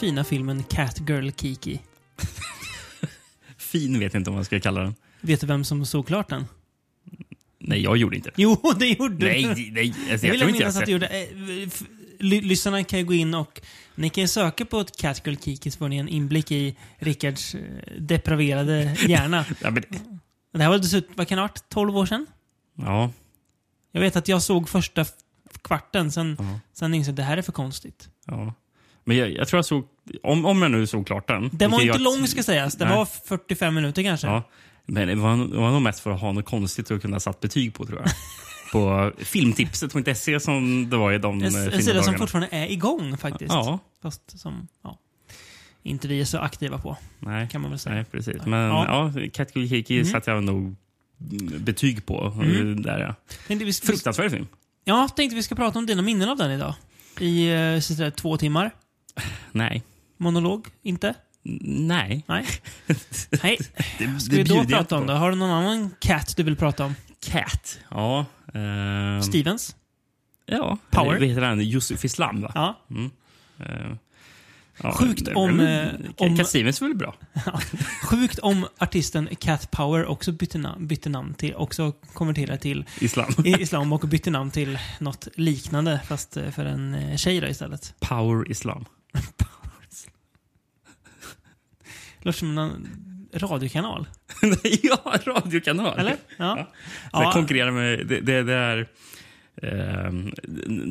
fina filmen Catgirl Kiki. Fin vet jag inte om man ska kalla den. Vet du vem som såg klart den? Nej, jag gjorde inte det. Jo, det gjorde du! Nej, nej. Jag Alltså, jag, vill tror inte jag minnas att du sett. gjorde... eh, f- ly- Lyssnarna kan ju gå in och... Ni kan ju söka på ett Catgirl Kiki så får ni en inblick i Rickards eh, depraverade hjärna. Ja, men, Det här var dessutom, vad kan det ha varit, 12 år sedan? ja. Jag vet att jag såg första f- kvarten, sen, Ja. sen insåg jag att det här är för konstigt. ja. Men jag, jag tror jag såg... Om, om jag nu såg klart den. Den vilket var inte jag- lång ska sägas, den Nej. var 45 minuter kanske. Ja. Men det var, det var nog mest för att ha något konstigt att kunna satt betyg på, tror jag. på filmtipset.se som det var i En, de eh, s- en sida fina som dagarna. fortfarande är igång faktiskt. Ja, Fast som, ja. Inte vi är så aktiva på, nej. kan man väl säga. Nej, precis. Men ja, Ja. Mhm. Catgirl Kiki satte jag nog mm, betyg på. eh, Där, ja. Tänkte vi, sk- Fruktansvärd film. ja, tänkte vi ska prata om dina minnen av den idag. I eh, sådär två timmar. Nej. Monolog, inte? N- Nej. Nej. Nej. Det, Ska vi då bjuder jag prata om inte det? på. Har du någon annan cat du vill prata om? Cat. Ja. ehm, Stevens? Ja. Power. Eller, Vad heter han? Yusuf Islam, va? Ja. Eh, ja, Sjukt det- om, det- eh, Cat- om- Cat Stevens är väl bra? Sjukt om artisten Cat Power också bytte, nam- bytte namn till, också konverterade till Islam. i- islam och bytte namn till något liknande fast eh, för en eh, tjej då istället. Power Islam. Låter som en radiokanal. ja, radiokanal. Eller? Ja. Så jag ja. konkurrerar med... Det, det, det är ehm,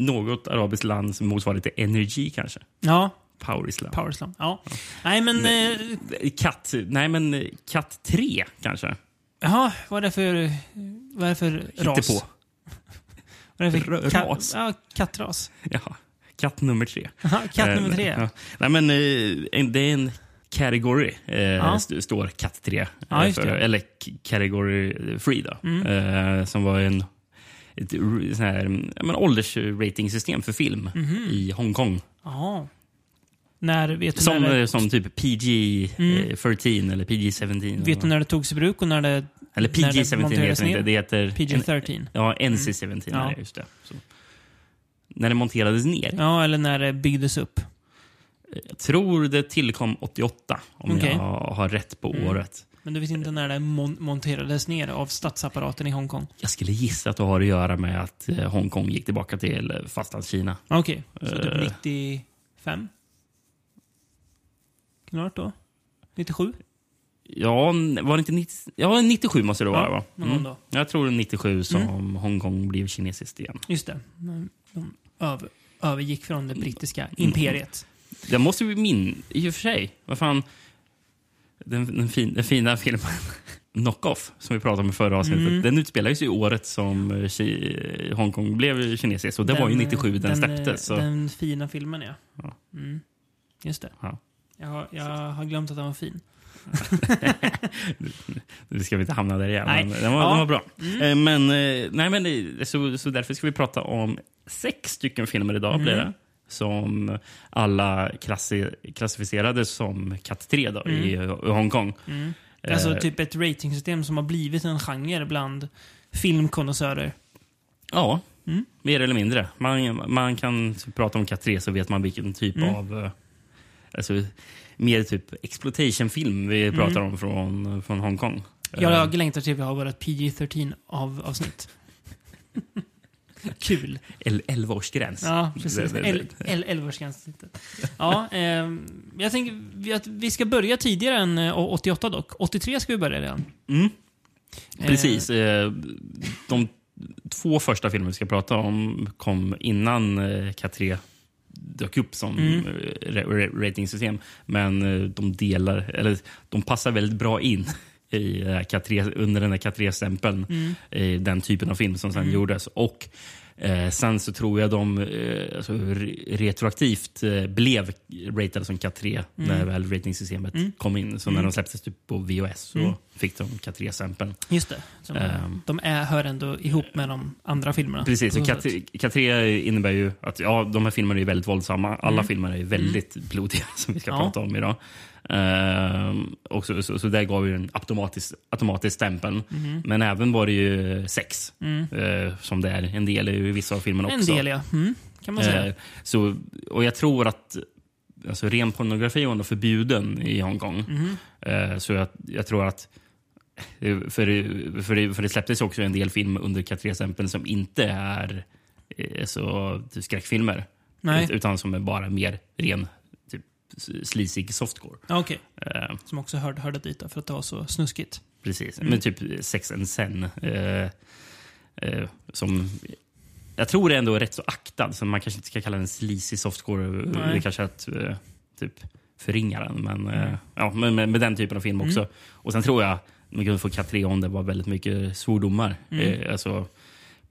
något arabiskt land som motsvarar lite energi kanske. ja. Power Islam. Power slam. Ja. Nej men, eh, Katt... Nej, men eh, katt 3 kanske. jaha, vad är det för, vad är det för ras? Hittepå. Vad är det för R- ka- ras. Ja, kattras. Ja. Katt nummer tre. Jaha, Katt Eh, nummer tre. Ja. Nej, men eh, en, det är en category, eh, st- står katt 3. eh, Ja, just det. Mm. eller k- category free då. Eh, som var en ett r- sån här, ja, men, åldersratingsystem för film Mm. i Hongkong. Mhm. Jaha. När, vet du Som, när det, Mm. eh, som typ PG-13 eller PG-17. vet du när det togs i bruk och när det, eller när det PG-17 monterades heter det inte. ner? Det heter PG-13? ja, NC-17. Är Mm. Ja. det, just det. Så. När det monterades ner. Ja, eller när det byggdes upp. Jag tror det tillkom 88, om Okej. Mm. jag har rätt på året. Men du vet inte när det mon- monterades ner av statsapparaten i Hongkong? Jag skulle gissa att det har att göra med att eh, Hongkong gick tillbaka till eh, fastlandskina. Okej, så typ Eh. 95? Kan det ha varit då? 97? Ja, n- var det inte 90, ja, 97 måste det vara. Ja, va? någon Mm. då. Mm. Jag tror det är 97 som Hongkong blev kinesiskt igen. Just det. De över, övergick från det Mm. brittiska imperiet. Det måste vi min... I och för sig, vad fan... Den, den, fin, den fina filmen Knock-Off, som vi pratade om i förra avsnittet, Mm. den utspelades ju i året som eh, Ki- Hongkong blev kinesiskt. Och det var ju 97 den, eh, släpptes. Så. Den fina filmen, ja. Ja. Mm. Just det. Ja. Jag, har, jag har glömt att den var fin. Nu ska vi inte hamna där igen. Nej. Men den, var, Ja. Mm. den var bra. Eh, Men, eh, nej, men, eh, så, så därför ska vi prata om sex stycken filmer idag. Mm. Blir det, som alla klassi, klassificerades som katt 3 då, i, eh, Hongkong. Mm. Alltså Eh. typ ett ratingsystem som har blivit en genre bland filmkonnässörer. Ja, Mm. mer eller mindre. Man, man kan prata om katt 3 så vet man vilken typ Mm. av... eh, Alltså, mer typ exploitation-film vi pratar om från, från Hongkong. Mm. Jag, Eh, jag längtar till vi har vårt PG-13 av avsnitt. Kul. el- 11-årsgräns. Ja, precis. Det- det- El- el- Elvaårsgränssnittet. Ja, ehm, jag tänker vi- att vi ska börja tidigare än eh, 88 dock. 83 ska vi börja redan. Mm. Precis. Eh, de två första filmer vi ska prata om kom innan eh, Cat 3 dök upp som mm. ratingsystem. Men eh, de delar, eller de passar väldigt bra in i eh, Cat 3, under den där Cat 3-stämpeln. mm. Eh, den typen av film som sen gjordes. Och eh, sen så tror jag de eh, alltså, re- retroaktivt eh, blev ratade som Cat 3 när väl ratingsystemet kom in. Så när de släpptes typ på VHS så fick de Cat 3-stämpeln. Just det. Så de- Ehm. De är, hör ändå ihop med de andra filmerna. Precis, På och så kat, sätt. kat 3 innebär ju att ja, de här filmerna är väldigt våldsamma. Alla filmer är väldigt blodiga som vi ska Mm. Ja. prata om idag. Ehm, och så, så, så där gav ju den automatisk, automatisk stämpeln. Mhm. Mm. Men även var det ju sex eh, som det är en del i vissa av filmerna En också. del ja. Mm, kan man säga. Eh, så, och jag tror att alltså ren pornografi var ändå förbjuden i Hongkong. Mhm. Eh, så jag, jag tror att eh, för, det- för, det, för det släpptes ju också en del film under Katresämpeln som inte är eh, så, typ skräckfilmer. Nej. Ut- Utan som är bara mer ren typ, slisig softcore. Ja, Okej, Eh, som också hörde, hörde dit då, för att det var så snuskigt. Precis. Mm. Men typ Sex and Sen. Eh, eh, som jag tror är ändå rätt så aktad. Så man kanske inte ska kalla den sleazy softcore. Nej. Det kanske är att eh, typ förringa den. Men, eh, ja, men, men med den typen av film Mm. också. Och sen tror jag, man kunde få Katri om det var väldigt mycket svordomar. Mm. Eh, alltså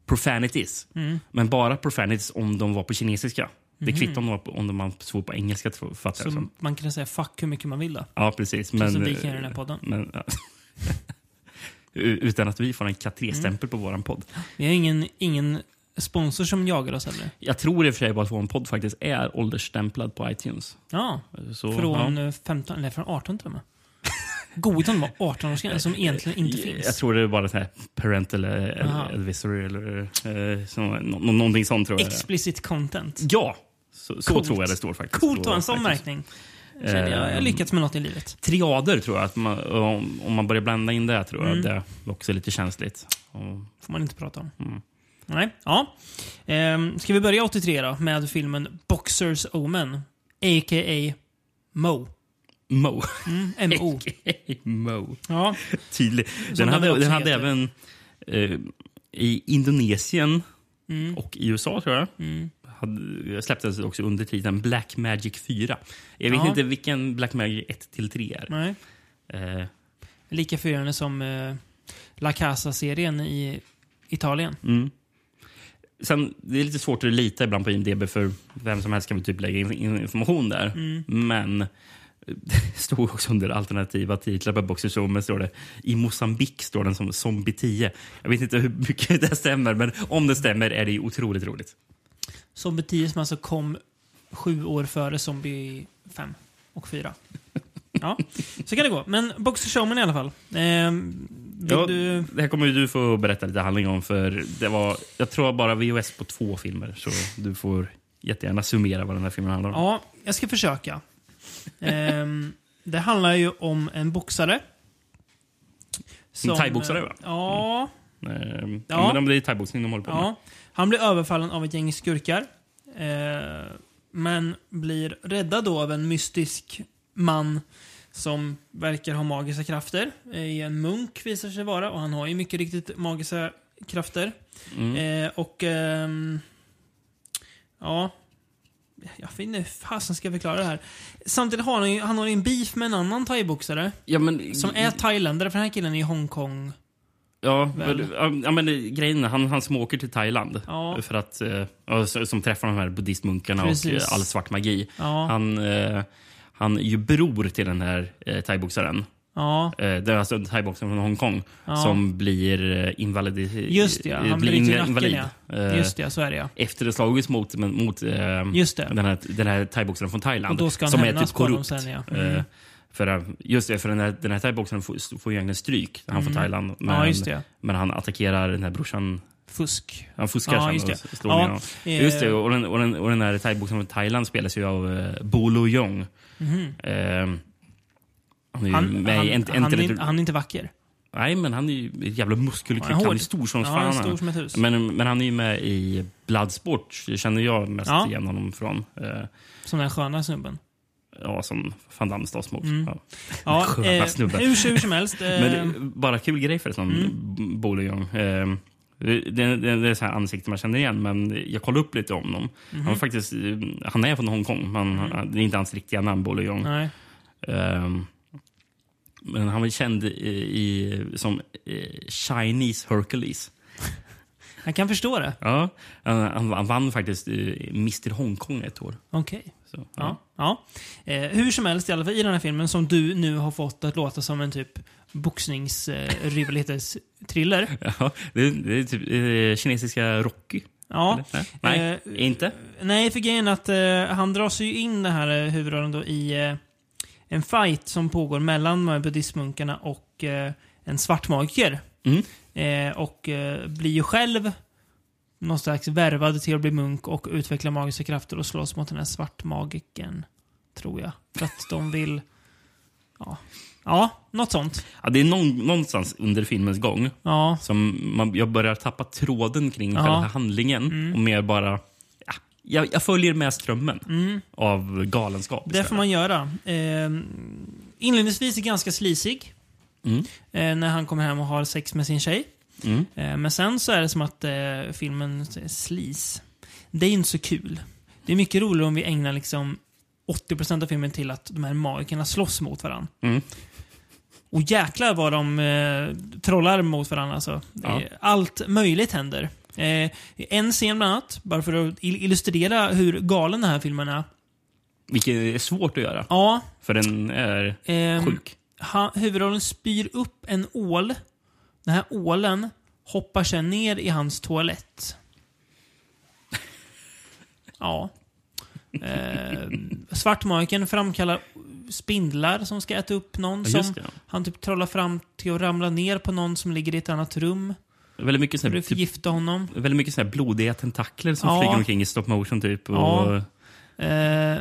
profanities. Men bara profanities om de var på kinesiska. Det Mm. kvittar om de, var på, om de man svor på engelska, tror- fattar jag Mhm. Så som. man kan säga fuck hur mycket man vill då. Ja, precis. Men, Men, typ eh, som vi kan göra i den här podden. men, ja. U- Utan att vi får en Mm. Katré-stämpel på vår podd. Vi har ingen, ingen sponsor som jagar oss heller. Jag tror i och för sig bara att vår podd faktiskt är åldersstämplad på iTunes. Ja, Så, från ja. eh, 15, eller från 18 till och med. Godton var 18-årsgräns som egentligen inte finns. Eh, Jag tror det är bara så här parental eh, Aha. advisory eller eh, så, nå- nå- någonting sånt tror jag. det är. Explicit content. Ja, så, så Coolt. tror jag det står faktiskt. Coolt på att ha en sån iTunes. märkning. Känner jag. Jag har Ehm, lyckats med något i livet. Triader tror jag, att man, om, om man börjar blanda in det tror jag att Mm. det också är lite känsligt. Och, får man inte prata om. Nej, ja. Ehm, ska vi börja 83 då med filmen Boxers Omen, a.k.a. Mo. Mo. Mm, M.O. Mo. Ja, tydlig. Den den väl hade, också den hade heter. även eh, i Indonesien Mm, och i USA, tror jag. Hade, släpptes också under titeln Black Magic 4. Jag vet Ja. inte vilken Black Magic 1 till 3 är. nej. Eh, Lika förvirrande som eh, La Casa-serien i Italien. mm. Sen, det är lite svårt att lita ibland på IMDB för vem som helst kan väl typ lägga in in information där. Mm. Men eh, det stod också under alternativa titlar på Boxer Zoomer står det i Mosambik står den som Zombie 10. Jag vet inte hur mycket det stämmer, men om det stämmer är det ju otroligt roligt. Zombie 10 som alltså kom sju år före Zombie 5 och 4. Ja, så kan det gå. Men Boxer Showman i alla fall. Ehm, vill Ja, du... Det här kommer ju du få berätta lite handling om. För det var, jag tror bara VHS på två filmer. Så du får jättegärna summera vad den här filmen handlar om. Ja, jag ska försöka. Ehm, det handlar ju om en boxare. Som- eh, thaiboxare, va? Ja, Ehm, Ja. Men om det är thaiboxning de håller på med. ja. Han blir överfallen av ett gäng skurkar. eh, men blir räddad då av en mystisk man som verkar ha magiska krafter. Eh, en munk visar sig vara och han har ju mycket riktigt magiska krafter. Mm. Eh, och... ehm, ja... Jag vet inte hur fasen ska jag förklara det här. Samtidigt har han ju han har ju en beef med en annan thaiboxare. Ja, men, Som är thailändare, för den här killen är i Hongkong. ja, väl. väl. ja, men det- grejen är, han, han som åker till Thailand Ja. för att, eh, ja, så- som träffar de här buddhistmunkarna och Precis. eh, all svart magi. Ja. Han, eh, han är ju bror till den här eh, thaiboxaren. Ja. Eh, Det är alltså thaiboxaren från Hongkong Ja. som blir eh, invalid. Just det, eh, han bryter inva- nacken invalid. ja. Eh, Just det, så är det ja. efter det slagits mot, men mot eh, Just det. den här, den här thaiboxaren från Thailand. Och då ska han som är hämnas typ på honom korrupt. sen, ja. Mm. Eh, för, eh, just det, för den här, den här thaiboxaren får, får ju egentligen stryk. Han från Thailand. Men, Mm. Ja, just det. men han attackerar den här brorsan. Fusk. Han fuskar Ja, sen just och det. slår Ja, ner honom. eh. Just det, och den, och, den, och den här thaiboxaren från Thailand spelas ju av eh, Bo Lo Jong. Eh, han är ju Mm. Han, med han, i Ent- han, Enter- är, han är inte vacker. Nej, men han är ju en jävla muskelkryck. Han är Han, hård. är stor som Ja, fan. han är stor som ett hus. Men, men han är ju med i Bloodsport, det känner jag mest Ja. igen honom från. Eh, Som den sköna snubben. ja, som Van Damme slåss mot. Ja. Ja, Sköna eh, snubben. hur, hur som helst. Eh, Men eh, bara kul grej förresten, mm. Bolejong. Eh, det, det, det är så här ansikten man känner igen, men jag kollade upp lite om dem. Han, var faktiskt, eh, han är från Hongkong, men han- det är inte hans riktiga namn, Bolejong. nej. Ehm, men han var känd i, i, som eh, Chinese Hercules. Jag kan förstå det. Ja, han, han, han vann faktiskt eh, Mr Hongkong ett år. Okej. Så, ja. Ja. ja. Eh, hur som helst, i alla fall i den här filmen som du nu har fått att låta som en typ eh, boxningsrivalitetstriller. Ja, det, det är typ eh, kinesiska Rocky. Ja. Eller? Nej, Eh, inte. Nej, för grejen är att eh, han dras ju in den här eh, huvudrollen då i eh, en fight som pågår mellan de här buddhistmunkarna och eh, en svartmagiker. Mm. Eh, och eh, blir ju själv någon slags värvad till att bli munk och utveckla magiska krafter och slåss mot den här svartmagikern. tror jag. För att de vill... Ja, ja något sånt. Ja, det är någon, någonstans under filmens gång Ja, som man, jag börjar tappa tråden kring Ja. Mm. själva handlingen och mer bara... Ja, jag, jag följer med strömmen av galenskap. Mm, det får istället. man göra. Eh, inledningsvis är ganska slisig. Mm. Eh, när han kommer hem och har sex med sin tjej. Mm. Eh, men sen så är det som att eh, filmen s- slis. Det är inte så kul. Det är mycket roligare om vi ägnar liksom 80% av filmen till att de här magikerna slåss mot varandra. Mm. Och jäklar vad de eh, trollar mot varandra. Alltså. Det är- Allt möjligt händer. Eh, en scen bland annat, bara för att il- illustrera hur galen den här filmen är. Vilket är svårt att göra, Ja, för den är ehm, sjuk. han, huvudrollen spyr upp en ål. Den här ålen hoppar sen ner i hans toalett. Ja. Eh, Svartmaken framkallar spindlar som ska äta upp någon. Ja, just som det, ja. Han typ trollar fram till att ramla ner på någon som ligger i ett annat rum. Väldigt mycket, sån För här, att typ, förgifta honom. väldigt mycket sån här blodiga tentakler som Ja. flyger omkring i stop motion. Typ, och, Ja. Eh, Ehm,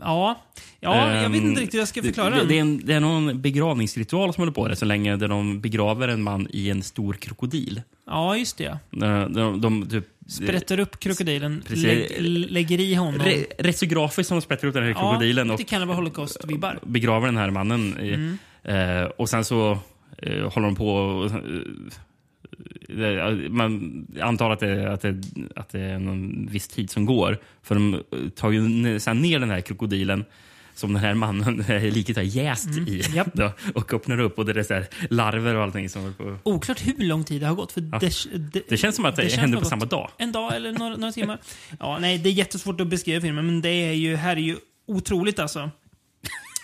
ja, ja jag vet Ehm, inte riktigt hur jag ska det- förklara det, den. det, är en, det är någon begravningsritual som håller på rätt så länge där de begraver en man i en stor krokodil. Ja, just det. De, de, de typ, Sprättar upp krokodilen, Precis. lägg, lägger i honom. re, rätt så grafiskt som de sprätter ut den här krokodilen Ja, och lite Cannibal Holocaust-vibbar. begraver den här mannen. I, Mm. eh, och sen så eh, håller de på och, eh, eh, man antar att det, att, det, att det är någon viss tid som går. För de eh, tar ju n- sen ner den här krokodilen som den här mannen liket har jäst i. Mm. japp. Då, och öppnar upp och det är så här larver och allting. Som håller på. Oklart hur lång tid det har gått. För det, Det känns som att det, känns händer som på att samma dag. En dag eller några, några timmar. Ja, nej, det är jättesvårt att beskriva filmen, men det är ju, här är ju otroligt alltså.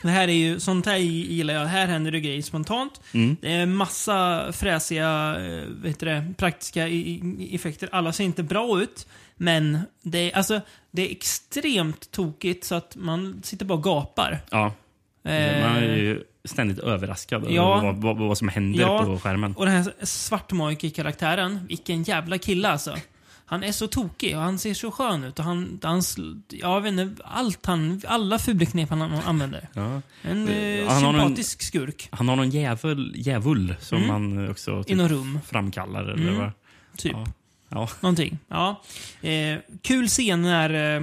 Det här är ju, sånt här gillar jag. Här händer det grejer spontant. Mm. Det är massa fräsiga, eh, vad heter det, praktiska i- i- effekter. Alla ser inte bra ut, men det är, alltså, det är extremt tokigt så att man sitter bara och gapar. Ja, man är Eh, ju ständigt överraskad ja. över vad, vad, vad som händer Ja. på skärmen. Och den här svartmojke-karaktären, vilken jävla kille alltså. Han är så tokig och han ser så skön ut och han, hans, jag vet inte, allt han, alla fulknep han an- använder. Ja. En eh, Han har en- sympatisk skurk Han har någon djävul, djävul som man också Mm. i typ något rum, framkallar. Eller Mm. vad? typ. Ja. Ja. Någonting. Ja. Eh, kul scen när eh,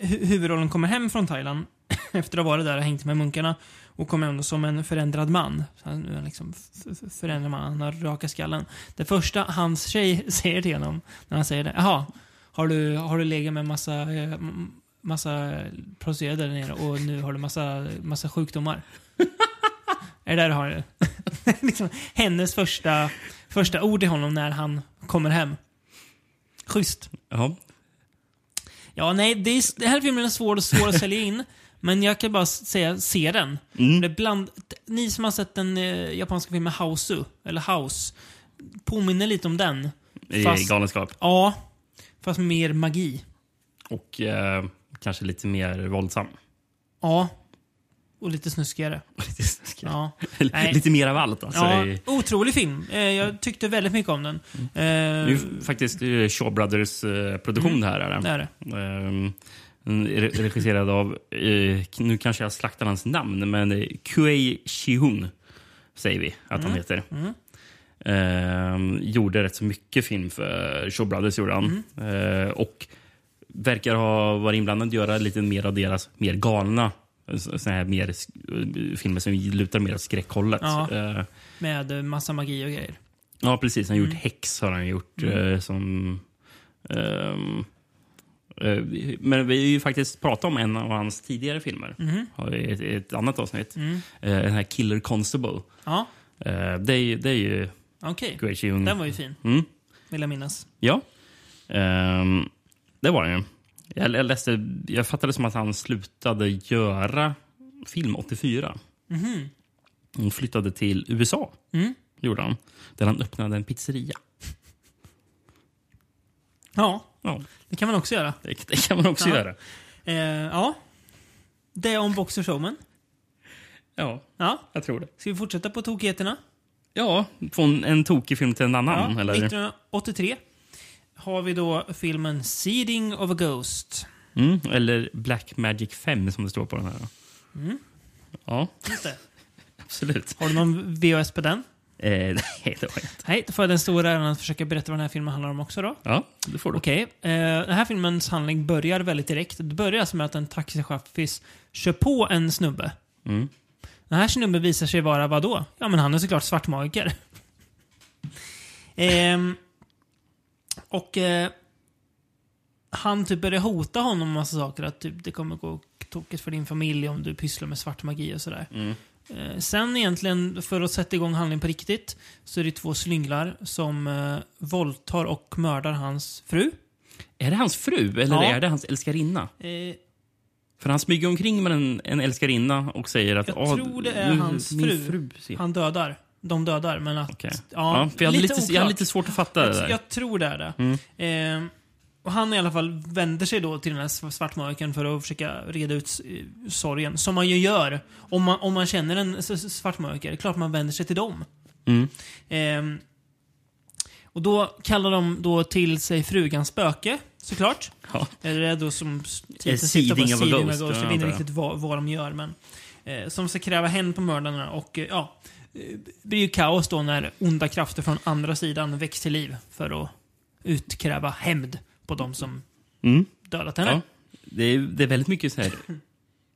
hu- huvudrollen kommer hem från Thailand efter att ha varit där och hängt med munkarna och kommer hem som en förändrad man. Så han nu är han liksom f- f- förändrad man, han har raka skallen. Det första hans tjej säger till honom när han säger det, jaha, har du, har du legat med massa, eh, m- massa prostituerade där nere och nu har du massa, massa sjukdomar? är det där du har det? liksom, hennes första, första ord till honom när han kommer hem. Schysst. Ja. Ja, nej, det, är, det här filmen är svår, svår att sälja in. Men jag kan bara s- säga, se den. Mm. Det är bland, ni som har sett den eh, japanska filmen Hausu, eller House, påminner lite om den. I Fast- galenskap. Ja, fast med mer magi. Och eh, kanske lite mer våldsam. Ja, och lite snuskigare. Ja. Nej. lite mer av allt. Alltså. Ja, Det är- otrolig film. Eh, Jag tyckte väldigt mycket om den. det är Eh, Mm. ju faktiskt eh, Shaw Brothers eh, produktion det här. Är det det. är det. Ehm, den är re- regisserad av, eh, nu kanske jag slaktar hans namn, men eh, Kuei Shihun säger vi att han heter. Ehm, gjorde rätt så mycket film för Shaw Brothers gjorde han. Ehm, och verkar ha varit inblandad att göra lite mer av deras mer galna så- såna här mer sk- eh, filmer som lutar mer åt skräckhållet. Ja. Ehm, Med eh, massa magi och grejer. Ja, precis. Han har gjort Mm. Hex. Har han gjort, eh, som, ehm, eh, vi- men vi har ju faktiskt pratat om en av hans tidigare filmer Mm. Mhm. Har vi i ett, i ett annat avsnitt. Eh, den här Killer Constable. Ja, Eh, det, är, ju- det är ju okej. Gracie Young. Den var ju fin, Mm. vill jag minnas. Ja. Ehm, det var den ju. Jag, jag, läste, jag fattade som att han slutade göra film 84. Han flyttade till USA. Mhm. Mm. Gjorde han. Där han öppnade en pizzeria. Ja, Ja, det kan man också göra. det, det kan man också Ja. göra. Eh, ja. Det är om Boxer Showman. Ja, Ja. jag tror det. Ska vi fortsätta på tokigheterna? Ja, från en tokig film till en annan. Ja, eller? 1983 har vi då filmen Seeding of a Ghost. Mm, eller Black Magic 5 som det står på den här. Mm. Ja, Just det. absolut. Har du någon VHS på den? Eh, nej, det har jag inte. Nej, då får jag den stora äran att försöka berätta vad den här filmen handlar om också då. Ja, det får du. Okej, eh, den här filmens handling börjar väldigt direkt. Det börjar alltså med att en taxichaffis kör på en snubbe. Mm. Den här snubben visar sig vara vad då? Ja, men han är såklart svartmagiker. Ehm, och eh, han typ börjar hota honom med massa saker. Att typ, det kommer gå tokigt för din familj om du pysslar med svart magi och sådär. Mm. Eh, sen egentligen, för att sätta igång handlingen på riktigt, så är det två slynglar som eh, våldtar och mördar hans fru. Är det hans fru eller Ja. är det hans älskarinna? Eh, För han smyger omkring med en, en älskarinna och säger att Jag "Ah, tror det är nu- hans min fru." fru ser. han dödar. De dödar, men att... Okej. Ja, Ja, för jag, hade lite lite, jag hade oklart. lite svårt att fatta det Jag, där. Mm. jag tror det är det. Eh, och han i alla fall vänder sig då till den här sv- svartmörkaren för att försöka reda ut eh, sorgen. Som man ju gör. Om man, om man känner en s- s- svartmörkare, det är klart man vänder sig till dem. Mm. Ehm, och då kallar de då till sig frugan Spöke, såklart. Ja. Eller det är då som s- Eh, titeln sitter på, Seeding of a Seeding of a Ghost, Ghost. Jag ja, vet inte antar jag. riktigt vad, vad de gör, men... Eh, som ska kräva hämnd på mördarna och eh, ja... eh, Det blir ju kaos då när onda krafter från andra sidan väcks till liv för att utkräva hämnd på de som Mm. dödat Ja. henne. Det, är, det är väldigt mycket så här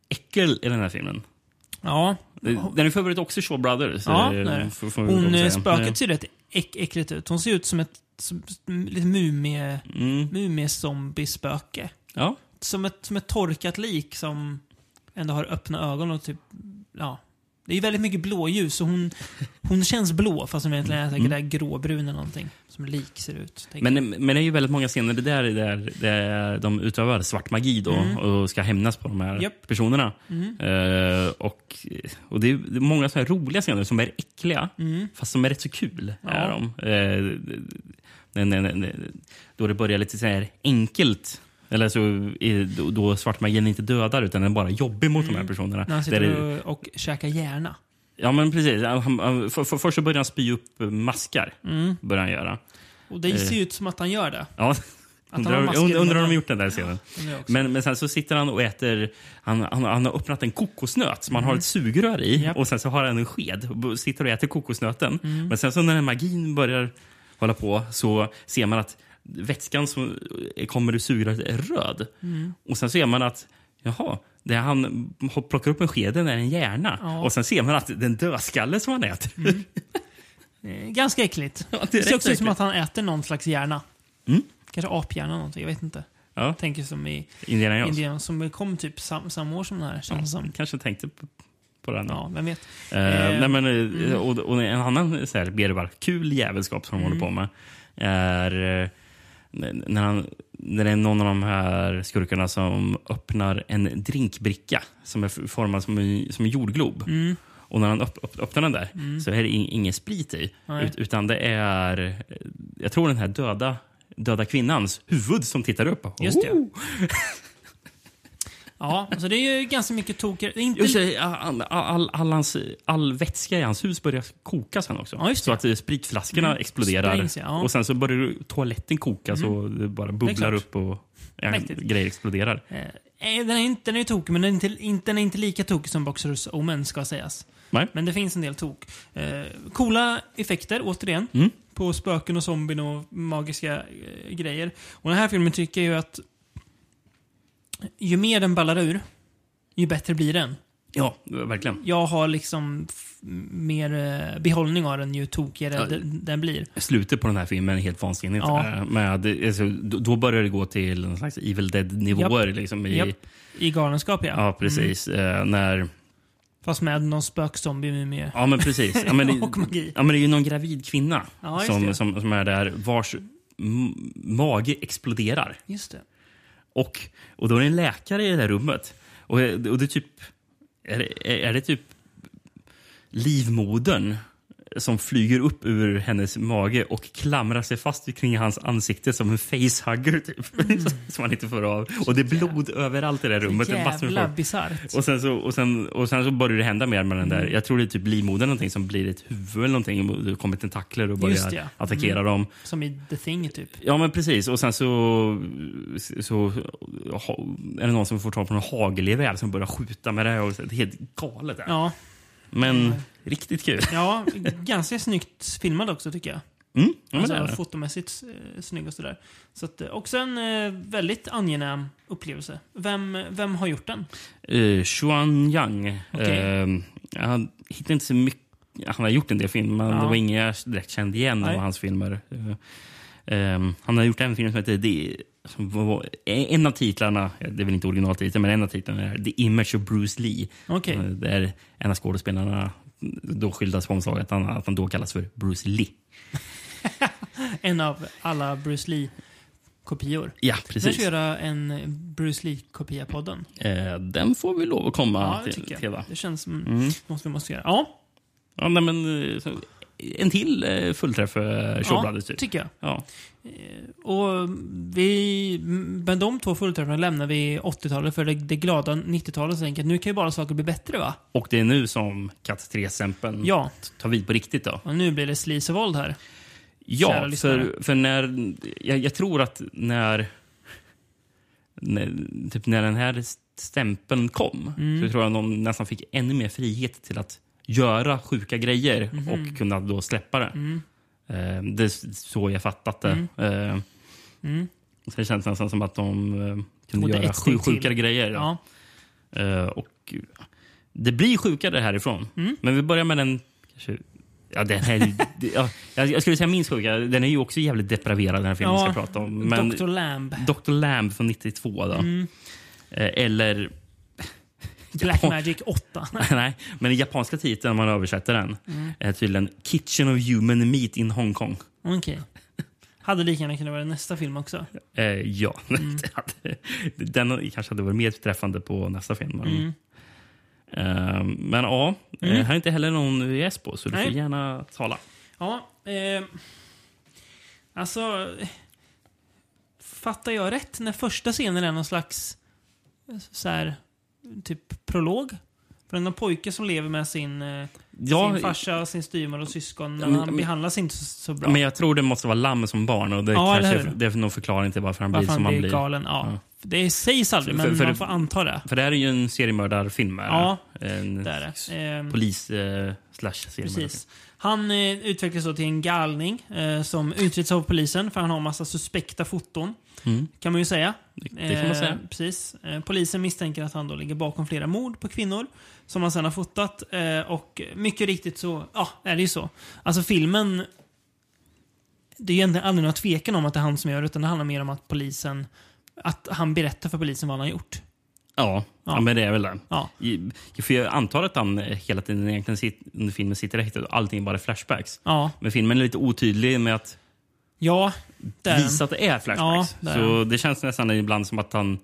äckel i den här filmen. Ja. Det, den är för övrigt också Shaw Brothers. Ja, eh, det är det. får- får vi Hon, säga. eh, spöket ser rätt äck, äckligt ut. Hon ser ut som ett som, som, lite mumie, Mm. mumie-zombie-spöke. Ja. Som ett, som ett torkat lik som ändå har öppna ögon och typ, ja. Det är ju väldigt mycket blåljus så hon, hon känns blå fast hon egentligen är säkert där gråbrun eller någonting. Som lik ser ut. tänker jag. Mm. Men, men det är ju väldigt många scener där, där, där de utövar svart magi då, och ska hämnas på de här Mm. Japp. Mm. personerna. Eh, och, och det är det är många så här roliga scener som är äckliga, Mm. fast som är rätt så kul. Är Ja. de. Eh, nej, nej, nej, nej. Då det börjar lite så här enkelt. Eller så är, då, då svartmagin inte dödar utan den är bara jobbig mot de här personerna. Mm. När han Där det- sitter och, och käkar hjärna. Ja, men precis. Han, han, för, för, först så börjar han spy upp maskar. Börjar han göra. Mm. Och det Eh. ser ju ut som att han gör det. Ja. han har Undrar, masker und- undrar om under- de gjort den där scenen. undrar jag också. Men, men sen så sitter han och äter... Han, han, han har öppnat en kokosnöt som han har ett sugrör i. Mm. Japp. Mm. Och Sen så har han en sked och b- sitter och äter kokosnöten. Men sen så när den magin börjar hålla på så ser man att vätskan som kommer ur sugröret är röd. Mm. Och Sen ser man att jaha, det han plockar upp med skeden är en hjärna. Ja. Och Sen ser man att den dödskalle som han äter Eh, Ganska äckligt. Ja, det är det ser rätt också ut som äckligt. att han äter någon slags hjärna. Mm. Kanske aphjärna eller någonting, jag vet inte. Ja, Jag tänker som i Indiana Jones. Indien som kom typ sam, samma år som den här, känns det som. Kanske tänkte på- på den. Ja, vem vet. Eh, Eh, nej, men, eh, och, och en annan eh, så här, berbar, kul jävelskap som de håller Mm. på med är eh, n- när, han, när det är någon av de här skurkarna som öppnar en drinkbricka som är f- formad som en, som en jordglob. Mm. Och när han öpp, öpp, öppnar den där så är det in, ingen sprit i. Nej. Ut, utan det är, eh, jag tror den här döda, döda kvinnans huvud som tittar upp. Just det. Oh! Ja, så det är ju ganska mycket toker. Det är Inte Just det, all, all, all, hans, all vätska i hans hus börjar koka sen också. Ja, just det. Mm. Så att eh, spritflaskorna exploderar. Sprängs, ja. Och sen så börjar ju toaletten koka så det bara bubblar klart. upp och ja, Mäktigt. grejer exploderar. Eh, den är inte, den är ju tokig, men den är inte, inte, den är inte lika tokig som Boxers Omen ska sägas. Nej. Men det finns en del tok. Eh, coola effekter, återigen, Mm. på spöken och zombien och magiska eh, grejer. Och den här filmen tycker jag ju att ju mer den ballar ur, ju bättre blir den. Ja, verkligen. Jag har liksom f- mer eh, behållning av den ju tokigare Ja. den, den blir. Slutet på den här filmen är helt vansinnigt. Ja. Eh, Med, alltså, då då börjar det gå till någon slags Evil Dead-nivåer. Liksom i, Japp. Mm. I galenskap ja. Ja, precis. Eh, när, Fast med någon spökzombie mumie. ja, men precis. Ja, men, det- Och magi. Ja, men det är ju någon gravid kvinna Ja, just som, det. som, som är där vars m- mage exploderar. Just det. Och, och då är det en läkare i det där rummet. Och, och det är typ... Är det, är det typ livmodern som flyger upp ur hennes mage och klamrar sig fast kring hans ansikte som en facehugger typ. Mm. som han inte får av. Och det är blod överallt i det där rummet. Det är massor med Jävla folk. bisarrt. Och sen, så, och, sen, och sen så börjar det hända mer med den där. Mm. Jag tror det är typ livmodern någonting som blir ett huvud eller någonting. Och Det kommer tentakler och Just börjar det, Mm. ja. attackera dem. Som i The Thing typ. Ja men precis. Och sen så, så ha- är det någon som får tag på någon hagelgevär som börjar skjuta med det här. Och så, det är helt galet. det här. Ja, Men riktigt kul. ja ganska snyggt filmad också tycker jag. Mm, ja, men Alltså, det är det. Fotomässigt eh, snygg och sådär. Så att, eh, också en eh, väldigt angenäm upplevelse. Vem, vem har gjort den? Eh, Xuan Yang. Okej. Eh, han hittar inte så mycket. Han har gjort en del filmer, men Ja. det var ingen jag direkt kände igen Nej. av hans filmer. Eh, ehm, han har gjort en film som heter The, som var, En av titlarna, det är väl inte originaltiteln, men en av titlarna är The Image of Bruce Lee. Okej. Eh, Där en av skådespelarna då skildras på omslaget att han, att han då kallas för Bruce Lee. En av alla Bruce Lee-kopior. Ja, Vi ska precis. göra en Bruce Lee-kopia-podden. Eh, den får vi lov att komma Ja, det till, tycker till jag. va? Mm. Det känns som något vi måste göra. Ja, Ja, nej, men, eh, så, en till eh, fullträff för ja Showbladet. typ. tycker jag. Ja. Och vi, men de två fullträffarna lämnar vi 80-talet för det, det glada 90-talet så enkelt. Nu kan ju bara saker bli bättre va? Och det är nu som Katt 3-stämpeln Ja. tar vid på riktigt. då. Och nu blir det slis och våld här. Kära Ja, lyssnare. för, för när... Jag, jag tror att när... när typ när den här stämpeln kom Mm. så tror jag de nästan fick ännu mer frihet till att göra sjuka grejer Mhm. och kunna då släppa det. Mm, Eh, det är så jag fattat det. Eh, mm. Så det känns nästan som att de eh, kunde Tog det göra ett steg sju sjukare till. grejer. då. Ja. Eh, och det blir sjukare härifrån. Mm. Men vi börjar med den... Kanske, ja, den här, det- ja, jag jag skulle säga minst sjuka. Den är ju också jävligt depraverad den här filmen vi Ja, ska prata om. Men Dr. Lamb. Dr. Lamb från 92 då. Mm. Eh, Eller... Black Magic 8. Nej, men den japanska titeln om man översätter den Mm, är tydligen Kitchen of Human Meat in Hong Kong. Okej. Hade lika gärna kunnat vara nästa film också. Eh, ja, Mm. Det hade- den kanske hade varit mer träffande på nästa film. Men, Mm. Eh, men ja, eh, här är inte heller någon VS på så du Nej. får gärna tala. Ja, eh, alltså... Fattar jag rätt när första scenen är någon slags eh, så här, typ prolog? För den där pojke som lever med sin, eh, Ja, sin farsa, sin styvmor och syskon, men, Men- han men- behandlas inte så, så bra. Men jag tror det måste vara lamm som barn och det, Ja, eller kanske, hur? det är någon förklaring till varför han Varför blir han som han blir blir. galen. Ja. Ja. Det sägs aldrig, men För- för- man får anta det. För det här är ju en seriemördarfilm. är det? Ja, en det är det. Ehm, polis eh, slash seriemördare. Precis. Han eh, utvecklas då till en galning eh, som utreds av polisen för han har massa suspekta foton. Kan man ju säga. Mm. Det kan man säga. precis. Eh, polisen misstänker att han då ligger bakom flera mord på kvinnor som han sen har fotat. Eh, och mycket riktigt så ja, är det ju så. Alltså filmen det är ju egentligen aldrig några tvekan om att det är han som gör det, utan det handlar mer om att polisen att han berättar för polisen vad han har gjort. Ja, ja. men det är väl det. Ja. I- För jag antar att han eh, hela tiden egentligen sit, under filmen sitter häktad och allting är bara flashbacks. Ja, Men filmen är lite otydlig med att ja där. visa att det är flashbacks. Ja, det är så det känns nästan ibland som att han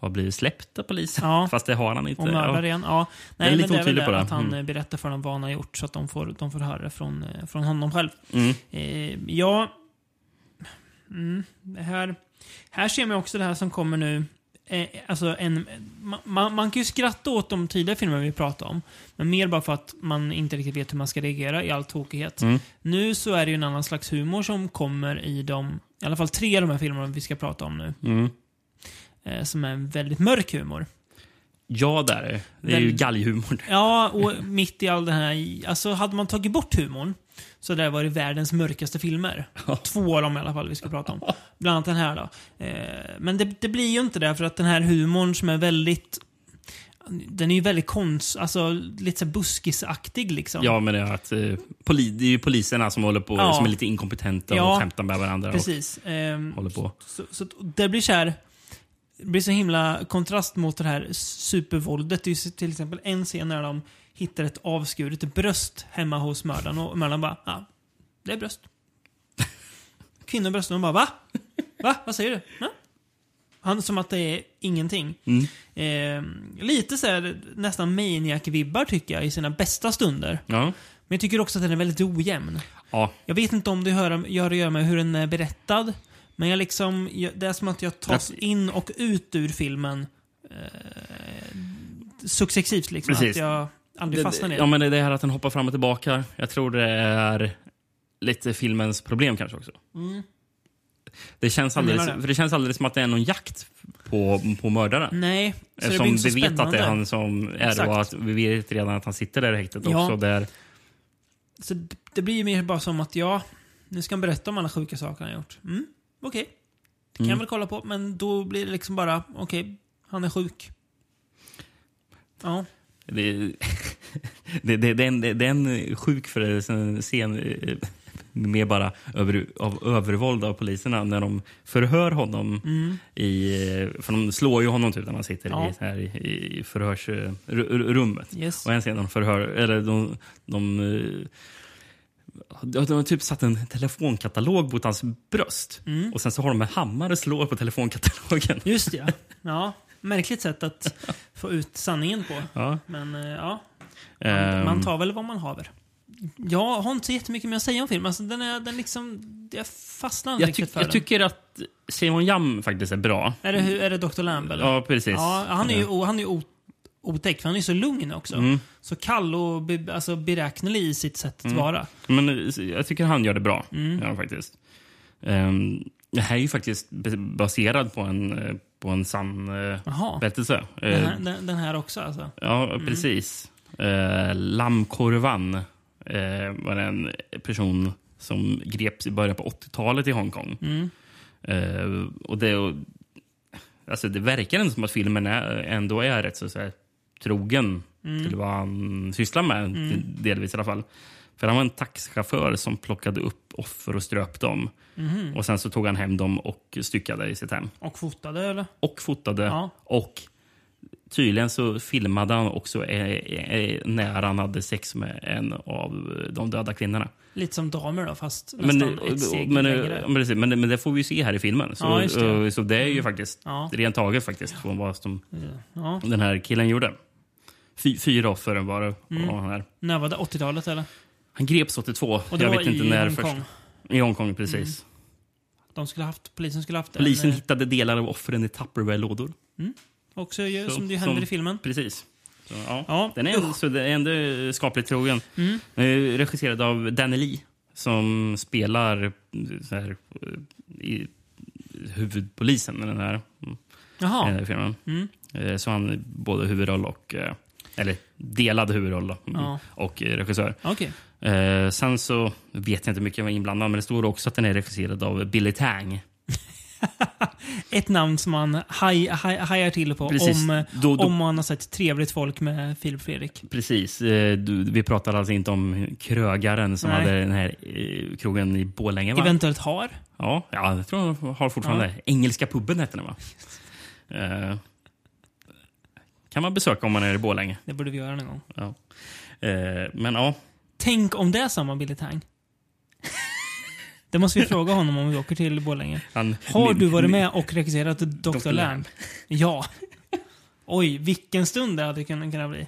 har blivit släppt av polisen. Ja. Fast det har han inte. Och mördar igen. Ja. Nej, är men lite det är väl otydlig det, på det. att han Mm. eh, berättar för dem vad han har gjort så att de får, de får höra det från, eh, från honom själv. Mm. Eh, ja... Mm, det här, här ser man också det här som kommer nu. Eh, alltså en, ma, ma, man kan ju skratta åt de tidigare filmer vi pratade om. Men mer bara för att man inte riktigt vet hur man ska reagera i all tokighet. Nu så är det ju en annan slags humor som kommer i de, i alla fall tre av de här filmerna vi ska prata om nu. Mm. Eh, som är en väldigt mörk humor. Ja, där är det. Det är ju Den- galghumorn. Ja, och mitt i all den här... Alltså, hade man tagit bort humorn så hade det varit världens mörkaste filmer. Två av dem i alla fall vi ska prata om. Bland annat den här då. Eh, men det, det blir ju inte det för att den här humorn som är väldigt... Den är ju väldigt konst... Alltså lite så här buskisaktig liksom. Ja, men det är, att, eh, poli, det är ju poliserna som håller på Ja. som är lite inkompetenta Ja. och skämtar med varandra. Precis. Ehm, Och håller på. Så, så att det blir så här... Det blir så himla kontrast mot det här supervåldet. Det är ju till exempel en scen när de hittar ett avskuret bröst hemma hos mördaren och mördaren bara ja, det är bröst. Kvinnobröst. Och de bara va? Va? Vad säger du? Ja. Han som att det är ingenting. Mm. Eh, lite så här nästan maniac-vibbar tycker jag i sina bästa stunder. Ja. Men jag tycker också att den är väldigt ojämn. Ja. Jag vet inte om det hör, gör att göra med hur den är berättad. Men jag liksom, jag, det är som att jag tas Att- in och ut ur filmen eh, successivt. Liksom, Precis. Att jag aldrig fastnar i Ja, det. men det är det här att den hoppar fram och tillbaka. Jag tror det är lite Mm. filmens problem kanske också. Det, känns Jag menar alldeles, det. För det känns alldeles som att det är någon jakt på, på mördaren. Nej, så det blir Eftersom inte så vi vet spännande. att det är han som är det Exakt. och att vi vet redan att han sitter där i häktet Ja. också. Där, Så det, det blir ju mer bara som att ja, nu ska han berätta om alla sjuka saker han har gjort. Mm, okej. Det kan Mm. jag väl kolla på, men då blir det liksom bara, okej, han är sjuk. Ja. det, det, det, det, är en- det, det är en sjuk förälder- scen eh, med bara över, av övervåld av poliserna när de förhör honom. Mm. I, eh, för de slår ju honom typ när man sitter Ja. i, så här, i, i eh, förhörsrummet. Yes. Och en scen när de förhör... Eller de, de, eh, de, de har typ satt en telefonkatalog mot hans bröst. Mm. Och sen så har de en hammare och slår på telefonkatalogen. Just det, ja. ja. Märkligt sätt att få ut sanningen på. Ja. Men eh, ja, man, ehm, man tar väl vad man haver. Jag har inte så jättemycket mer att säga om filmen. Alltså, den är, den liksom, jag fastnar inte jag, tyck- riktigt för jag den. tycker att Simon Jam faktiskt är bra. Är det, hur- är det Dr. Lamb? Eller? Ja, precis. Ja, han är ju, o- han är ju o- otäck, för han är ju så lugn också. Mm. Så kall och be, alltså, beräknelig i sitt sätt att vara. Men eh, jag tycker han gör det bra. Mm. Ja, faktiskt. Ehm, det här är ju faktiskt be- baserad på en, eh, på en sann eh, Jaha. berättelse. Eh, Den här, den, den här också alltså? Ja, precis. Eh, Lamkorvan eh, var en person som greps i början på 80-talet i Hongkong. Mm. Eh, och det, och, alltså det verkar ändå som att filmen är, ändå är rätt så, så här, trogen Mm. till vad han sysslar med, del- delvis i alla fall. För han var en taxichaufför som plockade upp offer och ströp dem. Mhm. Och Sen så tog han hem dem och styckade i sitt hem. Och fotade eller? Och fotade. Ja. Och tydligen så filmade han också eh, eh, när han hade sex med en av de döda kvinnorna. Lite som damer då, fast Men, nästan ett steg men, längre. men, precis, men, men det får vi ju se här i filmen. Så, Ja, just det. Mm. eh, så det är ju faktiskt Ja. rent taget faktiskt från vad som ja. den här killen gjorde. Fy, fyra offer var det. Mm. var han, här. När var det? 80-talet eller? han greps 82. Och det jag var vet i inte när Hongkong. först. I Hongkong, precis. De skulle haft, polisen skulle haft Polisen en... eh, hittade delar av offren i Tupperware-lådor. Också ju, Så- som det ju händer som- i filmen. Precis. Så, ja. Ja, Den är, ändå, så den är ändå skapligt trogen. Mm. Eh, Regisserad av Danny Lee som spelar eh, så här, eh, i huvudpolisen i den här, mm, i den Jaha. här filmen. Mm. Eh, Så han är både huvudroll och... eh, Eller delad huvudroll då, Mm. Ja. och eh, regissör. Okej. Eh, Sen så vet jag inte mycket om jag är inblandad men det står också att den är regisserad av Billy Tang. Ett namn som man haj, haj, hajar till på Precis. om, eh, Då- då- om man har sett Trevligt folk med Filip Fredrik. Precis. Eh, du- Vi pratar alltså inte om krögaren som Nej. hade den här eh, krogen i Borlänge. va? Eventuellt har. Ja, ja, jag tror de har fortfarande. Engelska puben heter den va? Eh, kan man besöka om man är i Borlänge. Det borde vi göra någon gång. Ja. Eh, men ja, Tänk om det är samma Billy Tang. Det måste vi fråga honom om vi åker till Borlänge. han, Har min- du varit min- med och regisserat Dr. Lamb? Ja. Oj, vilken stund det hade kunnat kunna bli.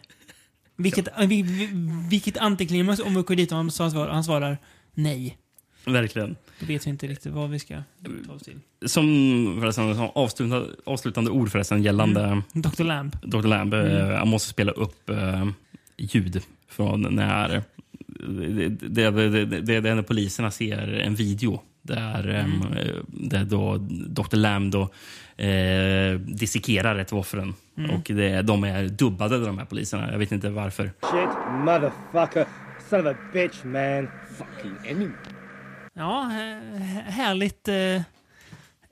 Vilket, vi, vi, vilket antiklimax om vi åker dit och han, sa- han svarar nej. Verkligen. Då vet vi inte riktigt vad vi ska ta oss till. Som, förresten, som avslutande, avslutande ord förresten gällande Dr. Lamb. Dr. Lamb. Mm. eh, Han måste spela upp eh, ljud från när det, det, det, det, det är när poliserna ser en video där, eh, Mm. där då Dr. Lamb då, eh, dissekerar ett av offren. Mm. Och det, de är dubbade, de här poliserna. Jag vet inte varför. Shit, motherfucker, son of a bitch, man. Ja, eh, härligt eh,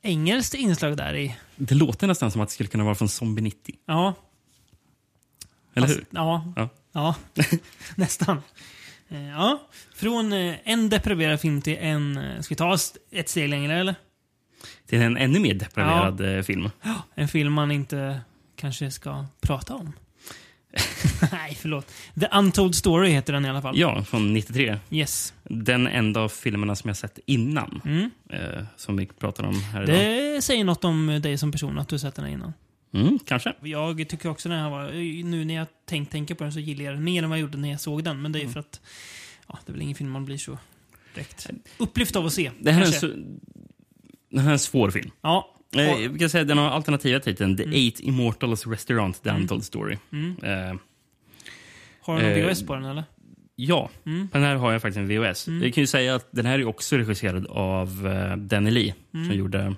engelskt inslag där i. Det låter nästan som att det skulle kunna vara från Zombie 90. Ja, Eller Fast- hur? Ja. Ja. ja. Nästan. Eh, Ja. Från eh, en deprimerad film till en... eh, Ska vi ta oss ett steg längre eller? Till en ännu mer depraverad eh, film. Ja, En film man inte kanske ska prata om. Nej, förlåt. The Untold Story heter den i alla fall. Ja, från 93. Yes. Den enda av filmerna som jag sett innan. Mm. Eh, som vi pratar om här idag. Det säger något om dig som person att du har sett den här innan. Mm, kanske. Jag tycker också den här var... Nu när jag tänk, tänker på den så gillar jag den mer än vad jag gjorde när jag såg den. Men Mm. det är ju för att... Ja, det är väl ingen film man blir så direkt upplyft av att se. Det här, är en, kanske. så, det här är en svår film. Ja. Eh, jag kan säga att den har alternativa titeln The Mm. Eight Immortals Restaurant, The Untold Story. Eh, Har du någon Eh, VHS på den eller? Mm. ja, den här har jag faktiskt en VHS. Jag kan ju Mm. säga att den här är också regisserad av eh, Danny Lee som gjorde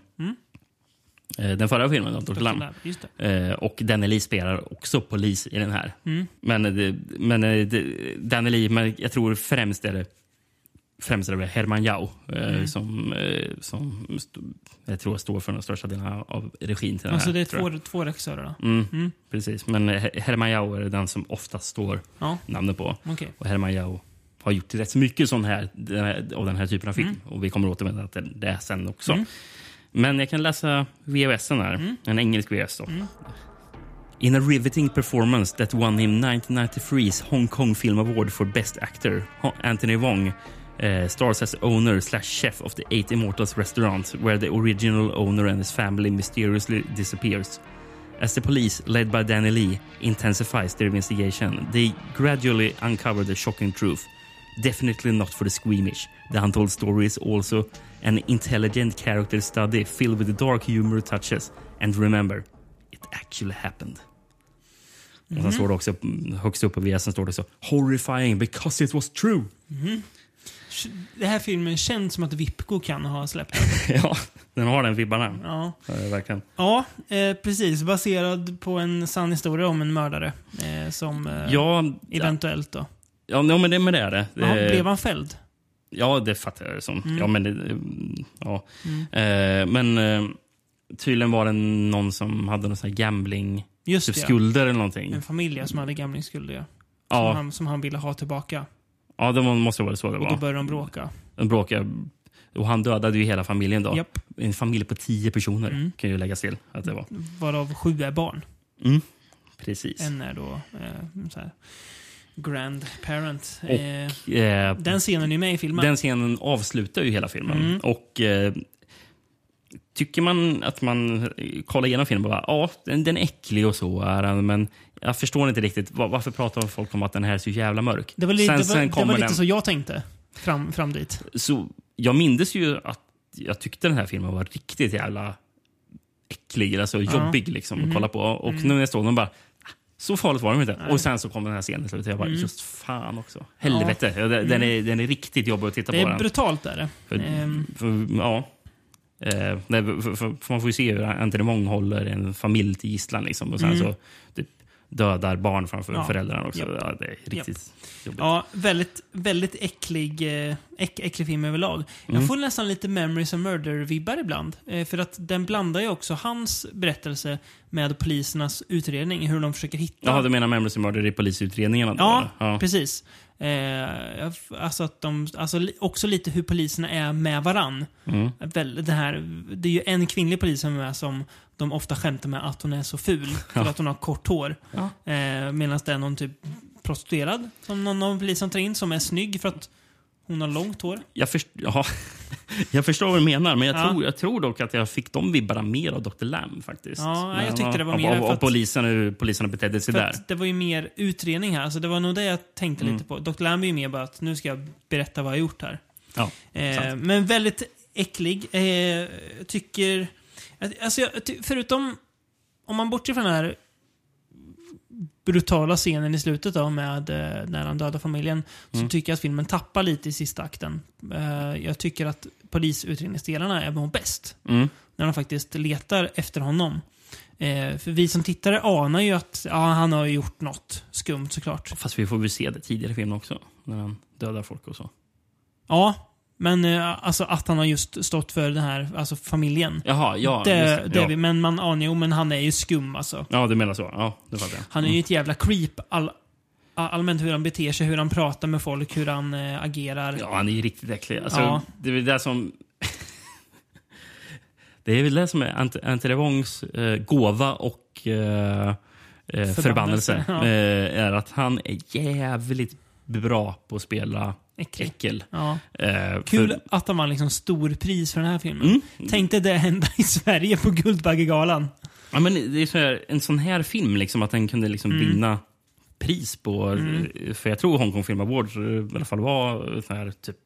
Eh, Den förra filmen, då, Dr. Dr. Lamb. Lab, Just det. Eh, Och Danieli spelar också polis i den här. Mm. Men, eh, det, men eh, det- Danieli, men jag tror främst är det Främst är det väl Herman Yao eh, Mm. som, eh, som st- jag tror står för den största delen av regin. Till den Alltså här, det är tror jag. två, två regissörer då? Mm, Mm. Precis, men eh, Her- Herman Yao är den som oftast står Ja, namnet på. okej. Och Herman Yao har gjort rätt så mycket sån här, den här, av den här typen av film. Och Vi kommer återvända till det sen också. Mm. Men jag kan läsa VHSen här. En engelsk VHS. Då. In a riveting performance that won him 1993's Hong Kong Film Award for Best Actor, Ho- Anthony Wong eh, stars as owner slash chef of the Eight Immortals restaurant where the original owner and his family mysteriously disappears. As the police, led by Danny Lee, intensifies their investigation, they gradually uncover the shocking truth. Definitely not for the squeamish. The Untold Story is also an intelligent character study filled with dark humor touches. And remember, it actually happened. Mm. Och Mhm. sen står det också, mm, högst upp på VSN står det så “Horrifying because it was true”. Den här filmen känns som att Vipko kan ha släppt den. ja, den har den vibbarna. Ja, Ja, verkligen. ja eh, precis. Baserad på en sann historia om en mördare. Eh, som eh, Ja, ja, eventuellt då. ja men det, men det är det. Ja, Eh, blev han fälld? Ja, det fattar jag det som. Ja, men det, mm, ja. Mm. Eh, men eh, tydligen var det någon som hade någon sån här gambling, Just typ det. skulder eller någonting. En familj som hade gamlingsskulder ja. Som, Ja, han, som han ville ha tillbaka. ja, det var- måste vara så det Och då var. började de bråka. De bråkade. Och han dödade ju hela familjen då. Japp. En familj på tio personer Mm. kan ju läggas till att det var. Varav sju är barn. Precis. En är då eh, så här, grandparent. Och, Eh, Eh, den scenen är med i filmen. Den scenen avslutar ju hela filmen. Mm. Och eh, Tycker man att man eh, kollar igenom filmen och bara ja, den, den är äcklig och så är den, men jag förstår inte riktigt var, varför pratar folk om att den här är så jävla mörk? det var, li- sen, det var, sen det var kommer lite den, så jag tänkte. Fram, fram dit. så jag mindes ju att jag tyckte den här filmen var riktigt jävla äcklig, alltså jobbig liksom, Mhm. att kolla på. Och Mm. nu när jag såg den bara, "Ah, så farligt var den inte. Och sen så kom den här scenen i slutet och jag Mm. bara, just fan också. Helvete, Ja, den, den, är, den är riktigt jobbig att titta Det på. är den. brutalt är det. För, Ehm. för, ja. Eh, nej, för, för, för man får ju se hur Anthony Wong håller en familj till gisslan liksom, och sen så typ, dödar barn framför Mm. Ja. föräldrarna också. Japp. Ja, det är riktigt jobbigt. Ja, väldigt, väldigt äcklig, eh, äck, äcklig film överlag. Jag får nästan lite Memories of Murder-vibbar ibland. Eh, för att den blandar ju också hans berättelse med polisernas utredning, hur de försöker hitta... Jaha, du menar Memories of Murder i polisutredningarna? då, Ja, eller? ja. precis. Eh, jag f- alltså att de, alltså li, också lite hur poliserna är med varann. Mm. Väl, det, här, det är ju en kvinnlig polis som är med som de ofta skämtar med att hon är så ful för att hon har kort hår. Ja. Eh, Medan det är någon typ prostituerad som någon av polisen tar in som är snygg för att hon har långt hår. Jag, först, ja. jag förstår vad du menar, men jag, Ja. tror, jag tror dock att jag fick de vibbarna mer av Dr. Lamb faktiskt. Ja, jag Men, tyckte det var mer Av, för av, att- polisen, hur poliserna betedde sig För där. att det var ju mer utredning här. Alltså det var nog det jag tänkte lite på. Dr. Lamb är ju mer bara att nu ska jag berätta vad jag har gjort här. Ja, Eh, sant. men väldigt äcklig. Eh, jag tycker... att- Alltså jag, ty, förutom... Om man bortser från den här brutala scenen i slutet då med eh, när han dödar familjen så tycker jag att filmen tappar lite i sista akten. Eh, jag tycker att polisutredningsdelarna är nog bäst Mm. när de faktiskt letar efter honom. Eh, för vi som tittare anar ju att ja, han har ju gjort något skumt såklart. Fast vi får väl se det tidigare i filmen också, när han dödar folk och så. Ja, men eh, alltså att han har just stått för den här alltså, familjen. Jaha, ja. det, just det, ja. vi- Men man anar ju, men han är ju skum alltså. Ja, du menar så. Ja, det fattar jag. Han är ju ett jävla creep all, all, allmänt hur han beter sig, hur han pratar med folk, hur han eh, agerar. Ja, han är ju riktigt äcklig. Alltså, Ja. Det är väl det som... det är väl det som är Ant- Anthony Wongs eh, gåva och eh, eh, förbannelse. Ja. Eh, är att han är jävligt bra på att spela Äcklig. äckel. Ja. Eh, Kul För, att han vann liksom storpris för den här filmen. Mm. Tänk dig det hända i Sverige på Guldbaggegalan. ja, men det är så här, en sån här film, liksom, att den kunde liksom Mm. vinna pris på... eh, För jag tror Hong Kong Film Awards eh, i alla fall var sån här, typ,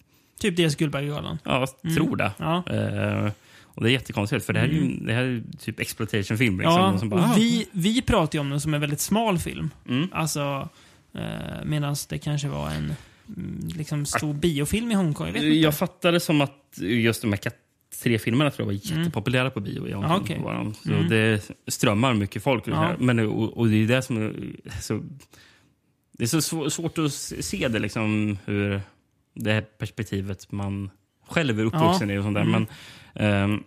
Typ det Guldbaggegalan. Ja, jag Mm. tror det. Ja. Eh, och det är jättekonstigt, för det här är ju det här är ju typ exploitation-film. Liksom, Mm. Ja, Och som bara, och ah, vi, vi pratar ju om den som en väldigt smal film. Mm. Alltså, eh, medan det kanske var Eh, en mm, liksom, stor biofilm i Hongkong. Jag vet inte. Jag fattade som att just de här kat- tre filmerna tror jag var jättepopulära på bio. I omkring Mm. Ah, okej. på varandra. Så Mm. Det strömmar mycket folk. runt Ja. här. Men, och, och det är det som... är- Så, det är så svå- svårt att se det, liksom, hur det här perspektivet man själv är uppvuxen i. Och sånt där. Mm. Men, ehm,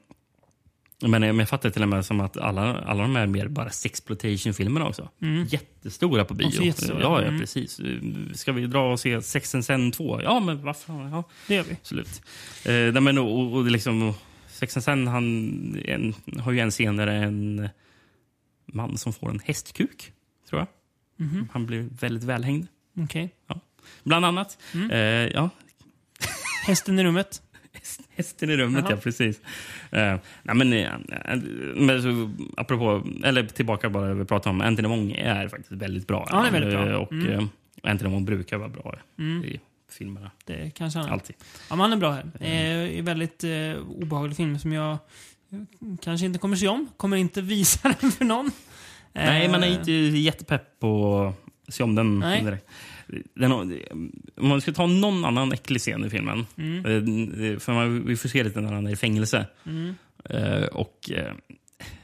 men jag- men jag fattar till och med som att alla, alla de här mer bara sexploitation-filmerna också. Mm. Jättestora på bio. så jättestora. Ja, ja Mm. precis. Ska vi dra och se Sex and Sen 2? Ja, men vad fan. Ja. Det gör vi. Absolut. Eh, nej, men, och, och, och det liksom, Sexen sen han en, har ju en senare en man som får en hästkuk, tror jag. Mhm. Han blir väldigt välhängd, Okej. bland annat. Mm. Eh, ja, Hästen i rummet. hästen i rummet, Jaha. ja precis. Eh, nej, men, eh, eh, men så, apropå, eller tillbaka bara det vi pratade om, Anthony Wong är faktiskt väldigt bra. Ja, han är väldigt bra. Eh, Och, Mm. eh, Anthony Wong brukar vara bra Mm. i filmerna, Det kanske han är. alltid. Ja, men han är bra här. Eh, en väldigt eh, obehaglig film som jag eh, kanske inte kommer se om. Kommer inte visa den för någon. Nej, Eh, man är inte jättepepp på att se om den. Nej. direkt. den har- om man ska ta någon annan äcklig scen i filmen. Mm. eh, För man, vi får se lite när han är i fängelse. Mm. Eh, och eh,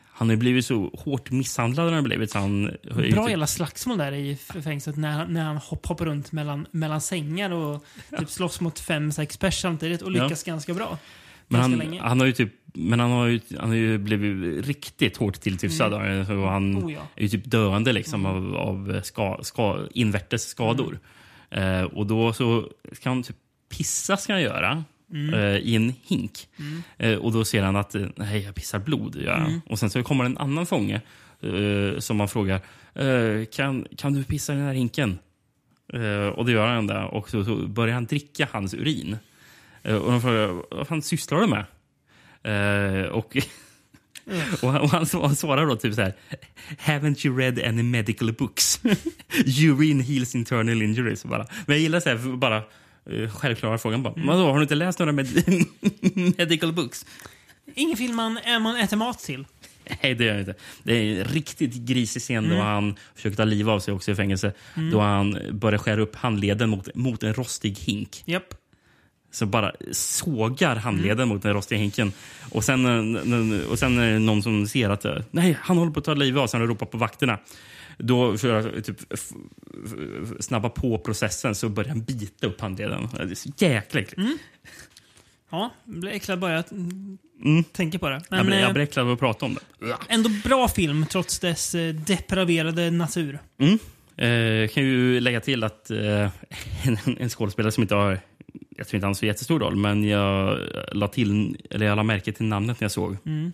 Han har ju blivit så hårt misshandlad. När han har typ- blivit, så han, Bra jävla slagsmål där i f- fängelset när, han- när han hopp, hoppar runt mellan, mellan sängar och typ slåss mot fem, sex pers samtidigt och Ja. lyckas ganska bra. men ganska han, länge. han har ju typ men han har, ju, han har ju blivit riktigt hårt Mm. tilltufsad. eh, Och han Oh, ja. är ju typ döende liksom, av, av ska, ska, invärtes skador. Eh, och då så ska han typ pissa ska han göra eh, i en hink. Eh, och Då ser han att eh, nej, jag pissar blod. Gör han. Och Sen så kommer en annan fånge eh, som man frågar eh, kan, kan du pissa i den här hinken. Eh, och Det gör han. Där. Och så, så börjar han dricka hans urin. Eh, och De frågar vad fan sysslar du med. Eh, och, och, han, och han, svar- han svarar då typ så här. Haven't you read any medical books? Urine heals internal injuries. Bara. Men jag gillar så här, för bara eh, självklara frågan. Bara, Vadå, har du inte läst några med medical books? Ingen film man, eh, man äter mat till. Nej, det gör jag inte. Det är en riktigt grisig scen då han försöker ta livet av sig också i fängelse. Då han börjar skära upp handleden mot, mot en rostig hink. Japp. Så bara sågar handleden mot den rostiga hinken. Och sen, eh, n- n- och sen är det någon som ser att eh, nej, han håller på att ta livet av sig och ropar på vakterna. Då för att typ, f- f- snabba på processen så börjar han bita upp handleden. Det är så jäkla äckligt. Mm. Ja, jag blir äcklad bara jag mm, tänker på det. Men, Jag blir- Jag eh, blir äcklad av att prata om det. Ändå bra film trots dess eh, depraverade natur. Mm. Eh, kan ju lägga till att eh, en, en skådespelare som inte har jag tror inte han har så jättestor roll, men jag la, till, eller jag la märke till namnet när jag såg. Mm.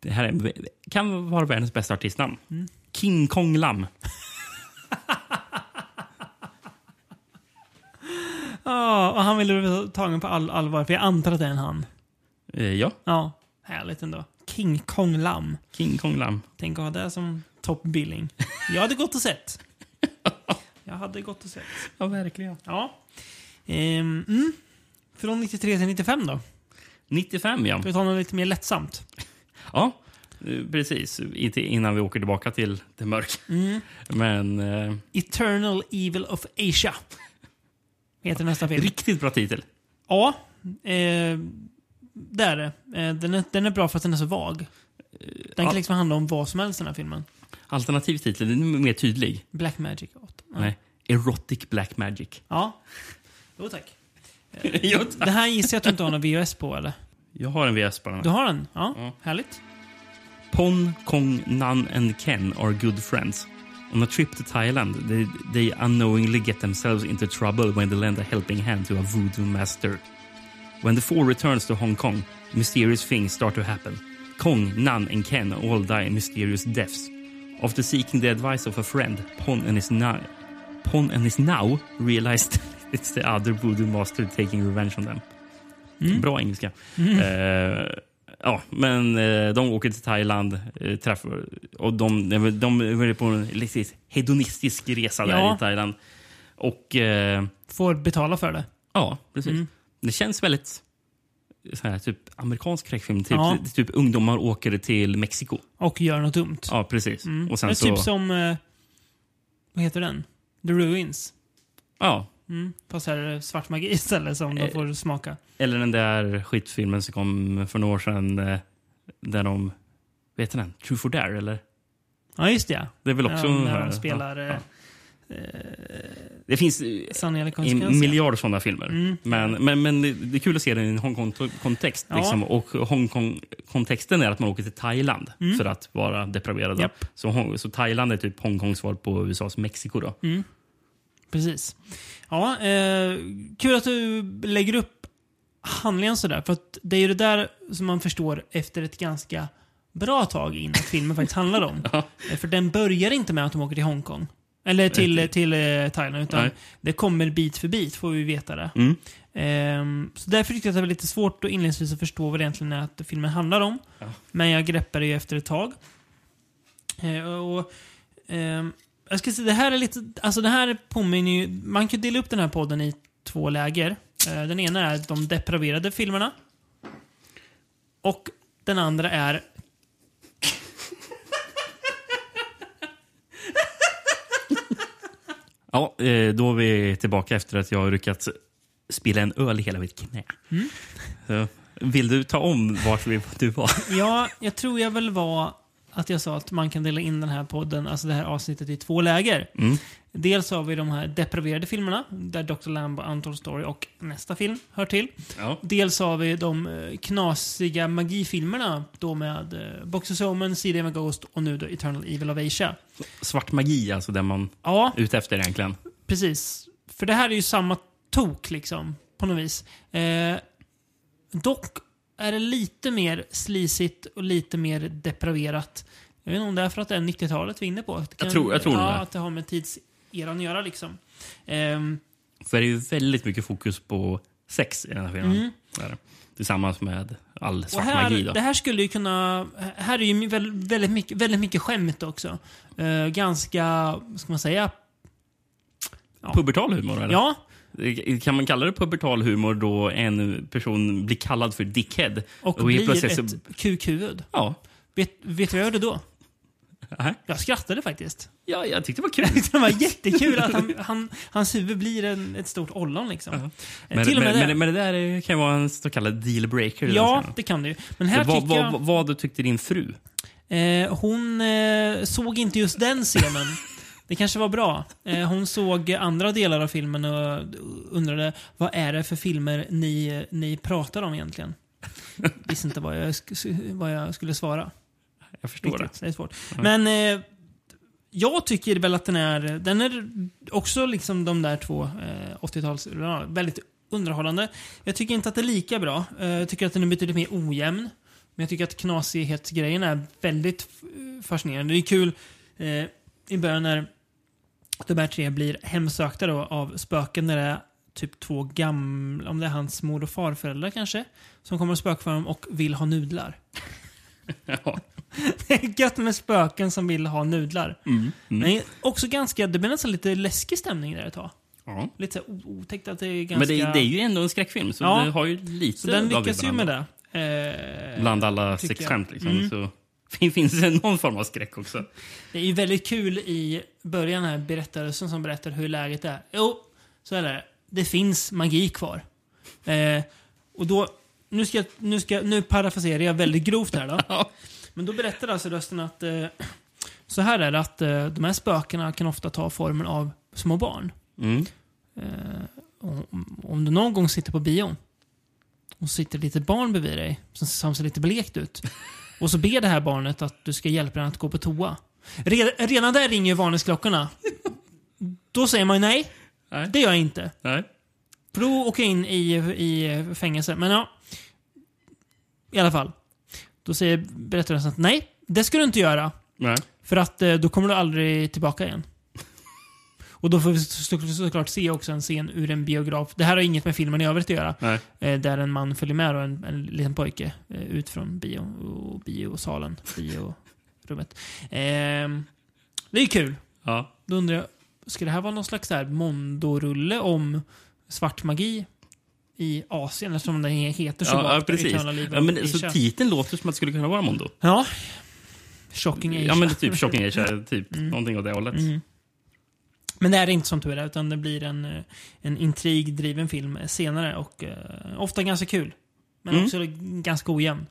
Det här är, kan vara världens bästa artistnamn. Mm. King Kong Lam. Ja, och han ville bli tagen på all allvar för jag antar att det är en han. Eh, ja, Ja, härligt ändå. King Kong Lam. King Kong Lam. Tänk att ha det som top billing. Jag hade gått och sett. Jag hade gått och sett. Ja, verkligen. Ja. Ehm, mm. Från 93 till 95 då? 95, ja. För att ta något lite mer lättsamt. ja. eh, Precis, inte innan vi åker tillbaka till det mörka. Mm. Men eh, Eternal Evil of Asia. Heter nästa film. riktigt bra titel. Ja, eh, det är det. Eh, den, är, den är bra för att den är så vag. Den ja. kan liksom handla om vad som helst den här filmen. Alternativ titel, den är mer tydlig. Black Magic 8. Ja. Nej. Erotic Black Magic. Ja. Jo tack. Jo, tack. Det här gissar jag att du inte har någon VHS på eller? jag har en VS på den. här. Du har den? Ja, Ja. härligt. Pon, Kong, Nan and Ken are good friends. On a trip to Thailand, they, they unknowingly get themselves into trouble when they lend a helping hand to a voodoo master. When the four returns to Hong Kong, mysterious things start to happen. Kong, Nan and Ken all die mysterious deaths. After seeking the advice of a friend, Pon and his now, Pon and his now realized it's the other voodoo master taking revenge on them. Bra engelska. Eh, ja, men eh, de åker till Thailand eh, träffar, och de, de, de är på en lite hedonistisk resa där Ja. i Thailand. Och eh, Får betala för det. ja, precis. Mm. Det känns väldigt så här, typ amerikansk skräckfilm. Typ, Ja. typ ungdomar åker till Mexiko. Och Gör något dumt. Mm. Ja, precis. Och det är sen så, typ som... Eh, vad heter den? The Ruins. Ja, Mm. Fast här är det svart magi istället som de Eh. får smaka. Eller den där skitfilmen som kom för några år sedan eh, där de... Vet du den? True for Dare, eller? Ja, just det. ja. Det är väl också... Ja, en- när ja, de spelar ja. ja, eh, Det finns eh, sanning eller en konsekvens. ja. miljard sådana filmer. Mm. Men, men, men det- det är kul att se den i en Hongkong-kontext. Ja. Liksom. Och Hongkong-kontexten är att man åker till Thailand Mm. för att vara depraverad. Japp. Så, Hong- så Thailand är typ Hongkongs svar på USAs Mexiko. Då. Precis. Ja, eh, kul att du lägger upp handlingen sådär. För att det är ju det där som man förstår efter ett ganska bra tag innan filmen faktiskt handlar om. Eh, För den börjar inte med att de åker till Hongkong. Eller till, till eh, Thailand. Utan Nej. det kommer bit för bit, får vi veta det. Mm. Ehm, så därför tyckte jag att det var lite svårt att inledningsvis att förstå vad det egentligen är att filmen handlar om. Ja. Men jag greppade det ju efter ett tag. Eh, och, ehm, jag ska säga, det här är lite, alltså det här påminner ju, man kan dela upp den här podden i två läger. Eh, den ena är de depraverade filmerna. Och den andra är... Ja, eh, då är vi tillbaka efter att jag har lyckats spilla en öl i hela mitt knä. Mm. Så, vill du ta om vart vi, du var? Ja, jag tror jag väl var att jag sa att man kan dela in den här podden, alltså det här avsnittet i två läger. Mm. Dels har vi de här depraverade filmerna, där Dr. Lamb och Untold Story och nästa film hör till. Ja. Dels har vi de eh, knasiga magifilmerna då med eh, Box of Omen, City of Ghost och nu då Eternal Evil of Asia. Svart magi, alltså det man Ja, är ute efter egentligen. precis. För det här är ju samma tok liksom, på något vis. Eh, dock är det lite mer slisigt och lite mer depraverat. Jag vet inte om det är för att det är 90-talet vi är inne på. Det kan- tror- jag tror ja, det. att det har med tidseran att göra liksom. Ehm, För det är ju väldigt mycket fokus på sex i den här filmen. Mm. Det är det. Tillsammans med all Och svart här, magi. Då. det här skulle ju kunna... Här är ju väl- väldigt mycket, väldigt mycket skämt också. Eh, ganska, vad ska man säga? Pubertal humor, eller? Ja, Kan man kalla det pubertal humor då en person blir kallad för dickhead? och, helt blir plötsligt ett Så, kukhuvud. ja. Vet, vet du vad jag gjorde då? Nej. Jag skrattade faktiskt. ja, jag tyckte det var kul. Det var jättekul att han, han, hans huvud blir en, ett stort ollon liksom. Ja. Eh, men, Till och med men, det. men, men det där är- kan ju vara en så kallad dealbreaker. Ja, det kan du ju. Men här Vad, tycker jag... vad, vad du tyckte din fru? Eh, hon eh, såg inte just den scenen. Det kanske var bra. Eh, hon såg andra delar av filmen och undrade vad är det för filmer ni, ni pratar om egentligen? Visste inte vad jag, sk- vad jag skulle svara. Jag förstår det. Riktigt, det är svårt. Men eh, jag tycker väl att den är, den är också liksom de där två eh, 80-tals, ja, väldigt underhållande. Jag tycker inte att det är lika bra. Eh, jag tycker att den är betydligt mer ojämn. Men jag tycker att knasighetsgrejen är väldigt f- fascinerande. Det är kul eh, i början när de här tre blir hemsökta då av spöken när det är typ två gamla, om det är hans mor och farföräldrar kanske, som kommer och spökför dem och vill ha nudlar. Ja. Det är gött med spöken som vill ha nudlar. Mm. Mm. Men också ganska, det blir nästan lite läskig stämning där ett tag. Ja. Lite så här o- otäckt att det är ganska... Men det, det är ju ändå en skräckfilm, så Ja. det har ju lite så den av lyckas ju ibland. med det. Eh, Bland alla tycker jag. sexskämt liksom. Mm. Så fin- finns det någon form av skräck också. Det är ju väldigt kul i början här, berättarrösten som berättar hur läget är. Jo, så är det. Det finns magi kvar. Eh, och då, nu ska, jag- nu ska, nu parafraserar jag väldigt grovt här då. Ja. Men då berättar alltså rösten att eh, så här är det att eh, de här spökena kan ofta ta formen av små barn. Mm. Eh, om, om du någon gång sitter på bion och så sitter ett litet barn bredvid dig som, som ser lite blekt ut och så ber det här barnet att du ska hjälpa den att gå på toa. Redan, redan där ringer ju varningsklockorna. Då säger man ju nej. Nej. Det gör jag inte. Nej. För då åker jag in i, i fängelse. Men ja, i alla fall. Då säger berättelsen att nej, det ska du inte göra. Nej. För att eh, då kommer du aldrig tillbaka igen. Och då får vi så- så- såklart se också en scen ur en biograf. Det här har inget med filmen i övrigt att göra. Nej. Eh, där en man följer med och en, en liten pojke eh, ut från bio, och biosalen. Biorummet. Ehm, det är ju kul. Ja. Då undrar jag, ska det här vara någon slags så här Mondo-rulle om svart magi i Asien? Eftersom den heter så Ja, ja, vagt, precis. Eternal Evil Ja, men, Asia. så titeln låter som att det skulle kunna vara Mondo. Ja. Shocking Asia. Ja, men typ Shocking Asia, typ någonting åt det hållet. Mm. Men det är det inte som tur är, utan det blir en, eh, en intrigdriven film senare och eh, ofta ganska kul. Men Mm. också ganska ojämn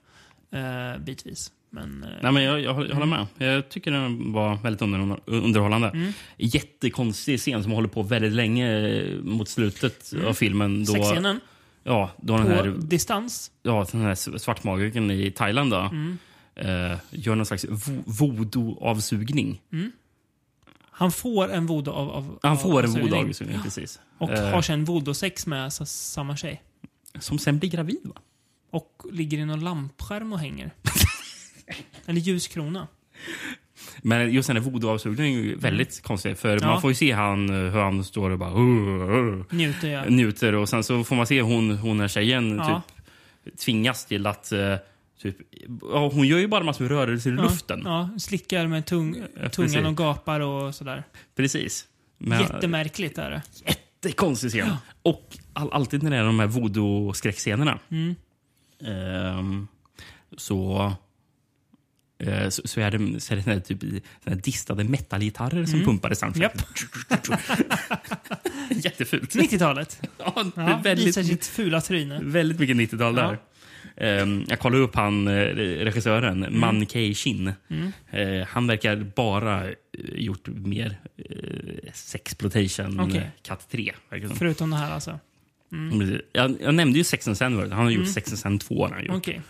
eh, bitvis. Men, eh, Nej, men jag, jag, håller- jag håller med. Jag tycker den var väldigt under, underhållande. Mm. Jättekonstig scen som håller på väldigt länge eh, mot slutet av filmen. Då, Mm. sexscenen Ja, då på den här, distans. ja, den här s- svartmagikern i Thailand då, Mm. eh, gör någon slags vo- voodoo-avsugning. Han får en voodoo av, av Han av får en avsugning. voodoo-avsugning, precis. Och Eh, har sen voodoo-sex med alltså, samma tjej. Som sen blir gravid, va? Och ligger i någon lampskärm och hänger. Eller ljuskrona. Men just den här voodoo-avsugningen är Mm. ju väldigt konstig. För man får ju se han, eh, hur han står och bara... "Ugh, ugh", Njuter jag. Njuter och sen så får man se hon, hon här tjejen Ja. typ, tvingas till att... eh, Typ, ja, hon gör ju bara massor med rörelser i luften. Ja, slickar med tung, Ja, precis. tungan och gapar och sådär. Precis. Men, Jättemärkligt är det. jättekonstig scen. Och all, alltid när det är de här voodoo-skräckscenerna Mm. ehm, så, eh, så, så är det, så är det såna här typ, i- såna här distade metalgitarrer som pumpades fram. Mm. Japp. Jättefult. 90-talet. Ja, det är Ja, väldigt, Visar sitt fula tryne. väldigt mycket 90-tal där. Ehm, jag kollade upp han, eh, regissören, Man Kei Shin. Eh, han verkar bara eh, gjort mer eh, sexploitation, Okej. Cat 3. verkar det som. Förutom det här alltså. Precis. Jag, jag nämnde ju Sex and Sand förut. Han har gjort Sex and Sand 2. har Han, gjort. Okej.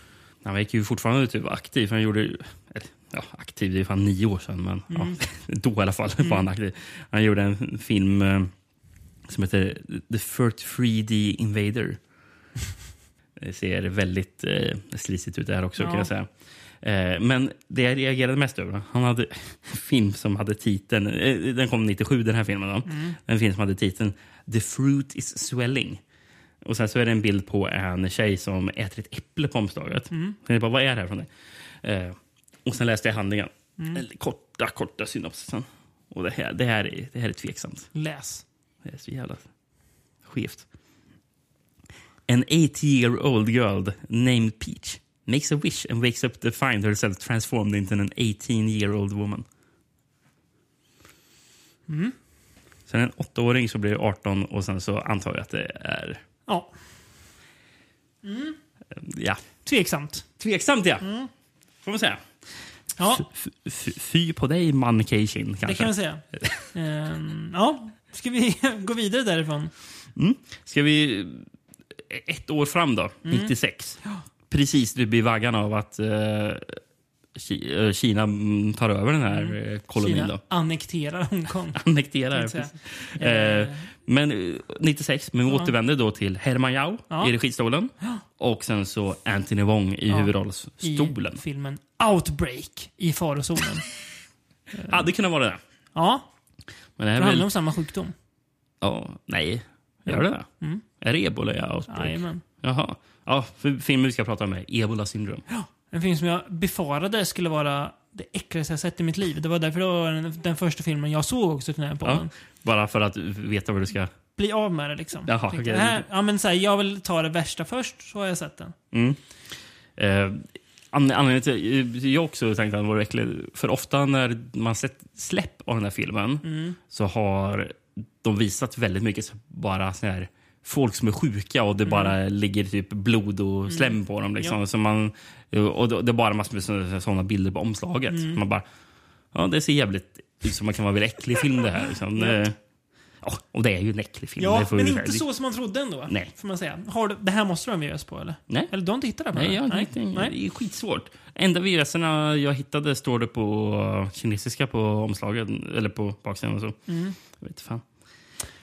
han verkar ju fortfarande typ aktiv. Han gjorde, ju- eller, ja, aktiv, det är ju fan nio år sedan, men ja, då i alla fall var han aktiv. Han gjorde en film eh, som heter The 33D Invader. Det ser väldigt eh, slisigt ut där också Ja. kan jag säga. Eh, men det jag reagerade mest över, han hade en film som hade titeln, eh, den kom 97 den här filmen då. En film som hade titeln The fruit is swelling. Och sen så är det en bild på en tjej som äter ett äpple på omslaget. Mm. Så Jag bara, vad är det här från det? Eh, och sen läste jag handlingen. Eller Korta, korta synopsisen. Och det här, det här, är, det här är tveksamt. Läs. Det är så jävla skevt. An 80-year-old girl named Peach makes a wish and wakes up to find herself transformed into an 18-year-old woman. Sen en åttaåring så blir det 18 och sen så antar jag att det är... Ja. Ja. Tveksamt. Tveksamt, ja. Får man säga. Ja, F- f- Fy på dig, man Keishin, det kanske. kan vi säga. Ehm, ja, ska vi gå vidare därifrån? Ska vi eh, ett år fram då, Mm. 96. Precis typ i vaggan av att eh, Ki- eh, Kina mm, tar över den här eh, kolonin. Kina Då. annekterar Hongkong. Annekterar. Kan jag precis. Eh, men eh, 96, men vi återvänder då till Herman Yao Ja. i registollen och sen så Anthony Wong i huvudrollsstolen. I filmen Outbreak i farozonen. Hade kunnat vara det. ja, Men det här det är väl... handlar om samma sjukdom. Ja, nej, gör det det? Mm. Är det ebola? Ja, Jajamän. Jaha. Ja, för filmen vi ska prata om är Ebola syndrom. En film som jag befarade skulle vara det äckligaste jag sett i mitt liv. Det var därför det var den, den första filmen jag såg också till den här podden. Ja, bara för att veta vad du ska... Bli av med det liksom. Jaha, Tänkte, okej. det här, ja, men så här, jag vill ta det värsta först, så har jag sett den. Eh, an- anledningen till, eh, jag också tänkte att den var äcklig. För ofta när man sett släpp av den här filmen Mm. så har de visat väldigt mycket så bara så här, folk som är sjuka och det Mm. bara ligger typ blod och slem på dem. Liksom. Så man, och det det är bara massor med så- sådana bilder på omslaget. Mm. Man bara, ja, det ser jävligt ut som man kan vara en väldigt äcklig film det här. Liksom. Eh, Ja, och det är ju en äcklig film. Ja, det får vi men säga. inte Det- så som man trodde ändå. Nej. Får man säga. Har du, det här måste de göras på eller? Nej. Eller du har inte hittat det? på Nej, den? jag har inte, Nej. det är skitsvårt. Enda viruserna jag hittade står det på kinesiska på omslaget, eller på baksidan och så. Mm. Jag vet fan.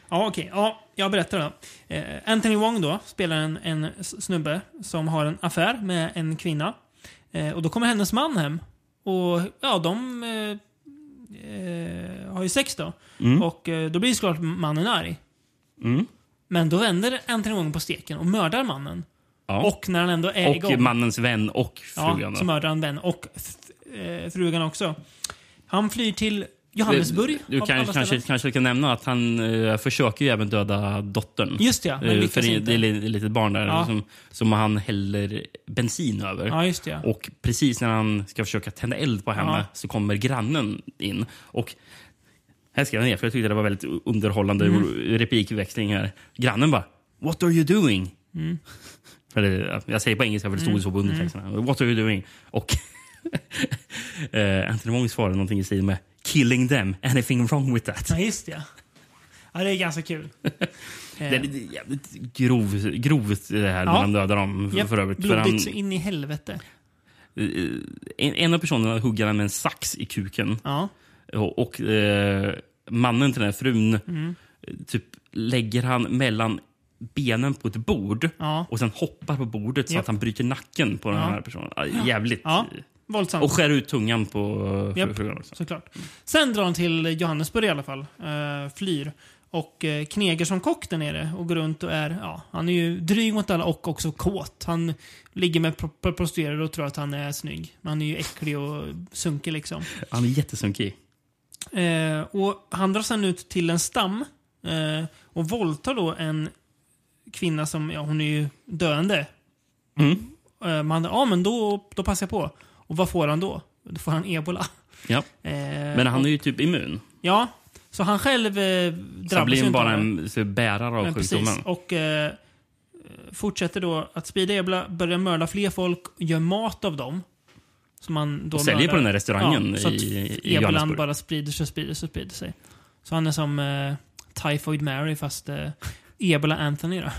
Ja, okej. Ja, jag berättar då. Eh, Anthony Wong då spelar en, en s- snubbe som har en affär med en kvinna. Eh, och då kommer hennes man hem. Och ja, de eh, eh, har ju sex då. Och eh, då blir ju såklart mannen arg. Mm. Men då vänder Anthony Wong på steken och mördar mannen. Ja. Och när han ändå är Och igång. mannens vän och ja, frugan. så då. mördar han den och f- eh, frugan också. Han flyr till Johannesburg. Du av kan, alla kanske, ställen. kanske kan nämna att han eh, försöker ju även döda dottern. Just det, ja, men Eh, lyckas för det, inte. det är li- ett litet barn där Ja. som, som han häller bensin över. Ja, just det. ja. Och precis när han ska försöka tända eld på henne Ja. så kommer grannen in. Och Här skrev jag ner, för jag tyckte det var väldigt underhållande Mm. replikväxling här. Grannen bara, what are you doing? Mm. Eller, jag säger på engelska för det stod så på undertexterna. Mm. What are you doing? Och eh, Anthony Wong svarade någonting i stil med killing them, anything wrong with that? Ja, just det. ja. Ja, det är ganska kul. Eh, Det är lite jävligt grov, grovt det här när Ja. han dödar dem för, japp, för övrigt. För blodigt han, så in i helvete. eh, en, en av personerna hugger han med en sax i kuken. Ja. Och, och eh, mannen till den här frun eh, typ lägger han mellan benen på ett bord Ja. och sen hoppar på bordet så Japp. att han bryter nacken på den Ja. här personen. Ah, Jävligt. Ja, våldsamt. Och skär ut tungan på eh, fru- Japp. frugan också. Såklart. Sen drar han till Johannesburg i alla fall. Eh, flyr. Och eh, knegar som kock där nere och går runt och är, ja, han är ju dryg mot alla och också kåt. Han ligger med pro- pro- prostituerade och tror att han är snygg. Men han är ju äcklig och sunkig liksom. Han är jättesunkig. Eh, och han drar sen ut till en stam eh, och våldtar då en kvinna som, ja hon är ju döende. Mm. Eh, man, ja men då, då passar jag på. Och vad får han då? Då får han ebola. Ja. Eh, Men han är ju typ immun. Ja, så han själv eh, Så han drabbas blir ju ju inte bara av det. en så bärare av Men sjukdomen. precis. Och eh, fortsätter då att sprida ebola, börjar mörda fler folk, gör mat av dem. Som man då Och säljer mördar. på den där restaurangen ja, så att i- i ebolan Johannesburg. bara sprider sig, sprider sig, sprider sig. Så han är som eh, Typhoid Mary fast eh, Ebola Anthony då.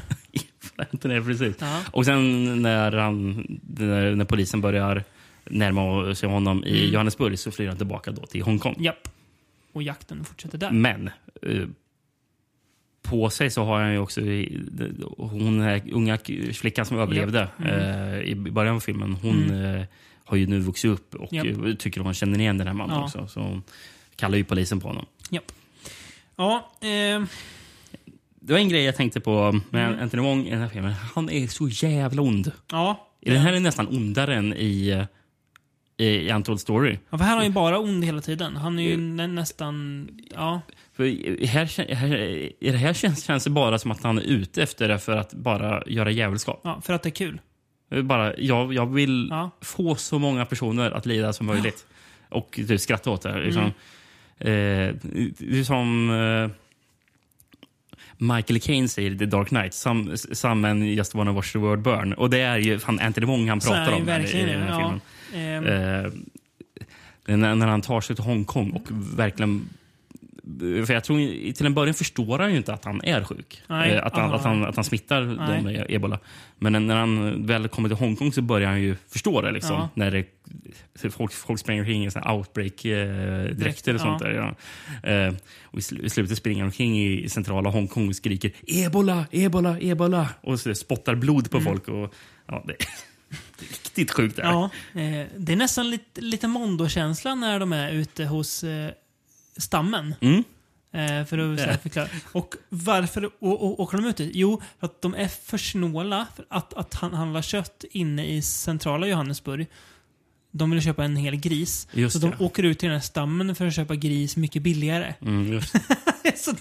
Nej, precis. Ja. Och sen när, han, när, när polisen börjar närma sig honom i Johannesburg så flyr han tillbaka då till Hongkong. Japp. Och jakten fortsätter där. Men eh, på sig så har han ju också i- de- hon här unga k- flickan som överlevde eh, i början av filmen. Hon eh, har ju nu vuxit upp och Japp. eh, tycker hon känner igen den här mannen Ja. också. Så hon kallar ju polisen på honom. Japp. Ja, eh, Det var en grej jag tänkte på med Anthony Wong i den här filmen. Han är så jävla ond. ja. Den här är nästan ondare än i, i, i Untold Story. Ja, för här har han ju bara ond hela tiden. Han är ju Mm. nä- nästan... Ja. För i- här, kän- här, eh, I det här känns, känns det bara som att han är ute efter det för att bara göra djävulskap. Ja, för att det är kul. Bara, jag, jag vill Ja. få så många personer att lida som möjligt. Och typ skratta åt det. Liksom. Mm. Eh, det är som eh, Michael Caine säger i The Dark Knight. Some, some men just wanna watch the world burn. Och det är ju fan Anthony Wong han Så är pratar han ju om här, i, i verkligen den här det, filmen. ja. Ehm, Eh, när, när han tar sig till Hongkong och verkligen... För jag tror, i- Till en början förstår han ju inte att han är sjuk. Nej. Ah. Eh, att, han, att, han, att han smittar Nej. dem med ebola. Men när han väl kommer till Hongkong så börjar han ju förstå det. Liksom, Ja. När det, så folk, folk springer omkring i outbreak-dräkter eh, och Dräkt, sånt där. Ja. Eh, och i, sl- I slutet springer han omkring i centrala Hongkong och skriker ebola, ebola, ebola. Och så spottar blod på folk. Och, ja, det, det är riktigt sjukt. Det här. Mm. ja, eh, det är nästan lite, lite Mondo-känsla när de är ute hos eh, stammen. Mm. Eh, för att så här, förklara. Och varför å- å- åker de ut dit? Jo, för att de är för snåla för att, att han handlar kött inne i centrala Johannesburg. De vill köpa en hel gris. Just så de det. åker ut till den här stammen för att köpa gris mycket billigare. Mm, just Det är så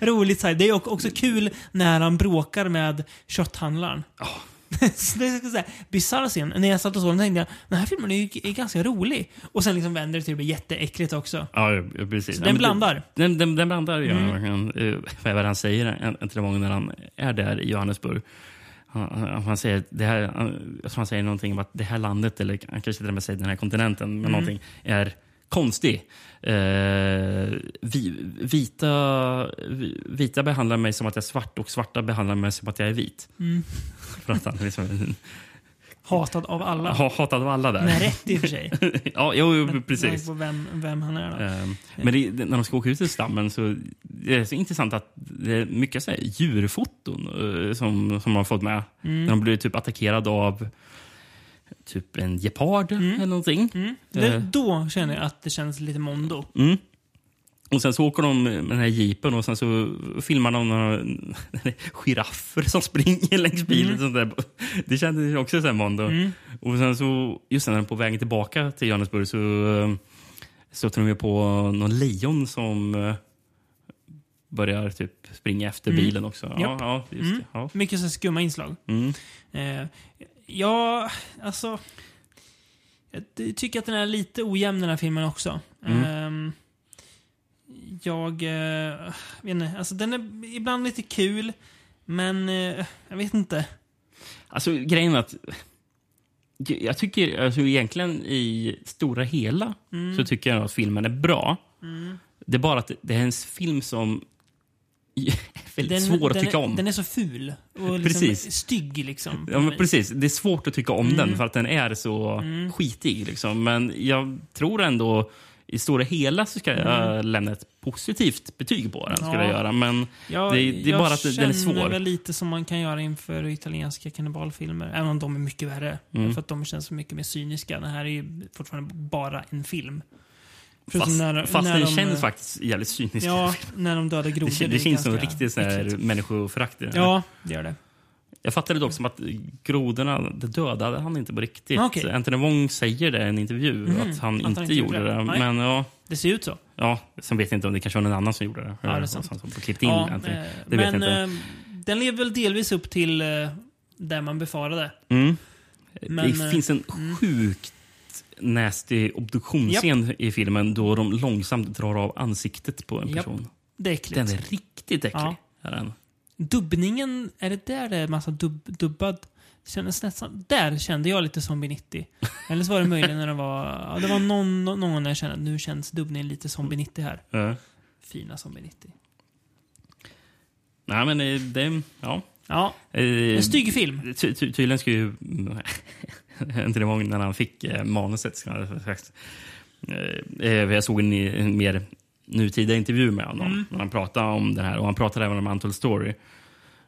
roligt. Så här. Det är ock- också kul när han bråkar med kötthandlaren. Så det är en bisarr scen. När jag satt och såg den tänkte jag den här filmen är ju är ganska rolig. Och sen liksom vänder det till att bli jätteäckligt också. Ja, ja, ja, precis. Så den Ja, men det- blandar. Mm. Den, den, den blandar ju verkligen. eh, Vad är det han säger en, en till gång när han är där i Johannesburg? Han, han, han säger, det här, han, jag tror han säger någonting om att det här landet, eller han kanske till och med säger den här kontinenten, Mm. men någonting är konstig. Eh, vi, vita, vi- vita behandlar mig som att jag är svart och svarta behandlar mig som att jag är vit. Mm. För att han liksom, Hatad av alla. ha- hatad av alla där. Med rätt i och för sig. ja, jo, jo, Man precis. vet på Vem, vem han är då. Ehm, Men det, det- när de ska åka ut ur stammen så det är så intressant att det är mycket så här djurfoton eh, som, som man har fått med. När de blir typ attackerade av typ en gepard eller någonting. Det, Eh. då känner jag att det känns lite mondo. Och sen så åker de med den här jeepen och sen så filmar de några giraffer som springer längs bilen. och Sånt där. Det kändes ju också så här Mondo. Och sen så, just när de är på vägen tillbaka till Johannesburg så eh, stöter de ju på någon lejon som eh, börjar typ springa efter bilen också. Ja, Japp. ja, just det. Ja. Mycket så här skumma inslag. Mm. Eh, ja, alltså... Mm. Jag ty- tycker att den är lite ojämn den här filmen också. Ehm, jag eh, vet inte, alltså den är ibland lite kul, men eh, jag vet inte. Alltså grejen är att jag tycker alltså, egentligen i stora hela Mm. så tycker jag att filmen är bra. Det är bara att det är en film som är väldigt Den, svår att den tycka är, om. Den är så ful och liksom Precis. stygg liksom. Ja, men precis. Det är svårt att tycka om Mm. den för att den är så skitig. Liksom. Men jag tror ändå i stora hela så ska jag lämna ett positivt betyg på den. Ska Mm. Ja. jag göra. Men Jag, det, det är bara att den är Jag svår. känner väl lite som man kan göra inför italienska kannibalfilmer. Även om de är mycket värre. Mm. För att de känns så mycket mer cyniska. Den här är ju fortfarande bara en film. Förutom Fast, fast den de, känns eh, faktiskt jävligt cynisk. Ja, när de dödar det grodor. det, är känns som ganska riktigt sån här äckligt. människoförakt i den här. Ja, det gör det. Jag fattade dock som att grodorna det dödade han inte på riktigt. Ah, okej. Mhm. Anthony Wong säger det i en intervju att han Att han inte inte gjorde gjorde det. det. Nej. Men ja, Det ser ut så. ja, sen vet jag inte om det kanske var någon annan som gjorde det. Ja, det är Eller sant. som, som klippte in ja, Anthony. eh, Det vet men jag inte. eh, den lever väl delvis upp till eh, det man befarade. Mm. Men, det eh, finns en sjukt nasty obduktionsscen i filmen då de långsamt drar av ansiktet på en Japp. person. Det är äckligt. Den är riktigt äcklig. Ja. Är den. Dubbningen, är det där det är massa dubb, dubbad? Kändes nästan, där kände jag lite Zombie 90. Eller så var det möjligen när det var... Ja, det var någon, någon gång när jag kände att nu känns dubbningen lite Zombie 90 här. Ja. Fina Zombie 90. Nej, men eh, det... Ja. Ja, Eh, en stygg film. Ty, ty, tydligen skulle ju Anthony Wong, när han fick eh, manuset... Ska jag, säga. eh, eh, jag såg en, en mer nutida intervju med honom Mm. när han pratade om det här. Och Han pratade även om Untold Story.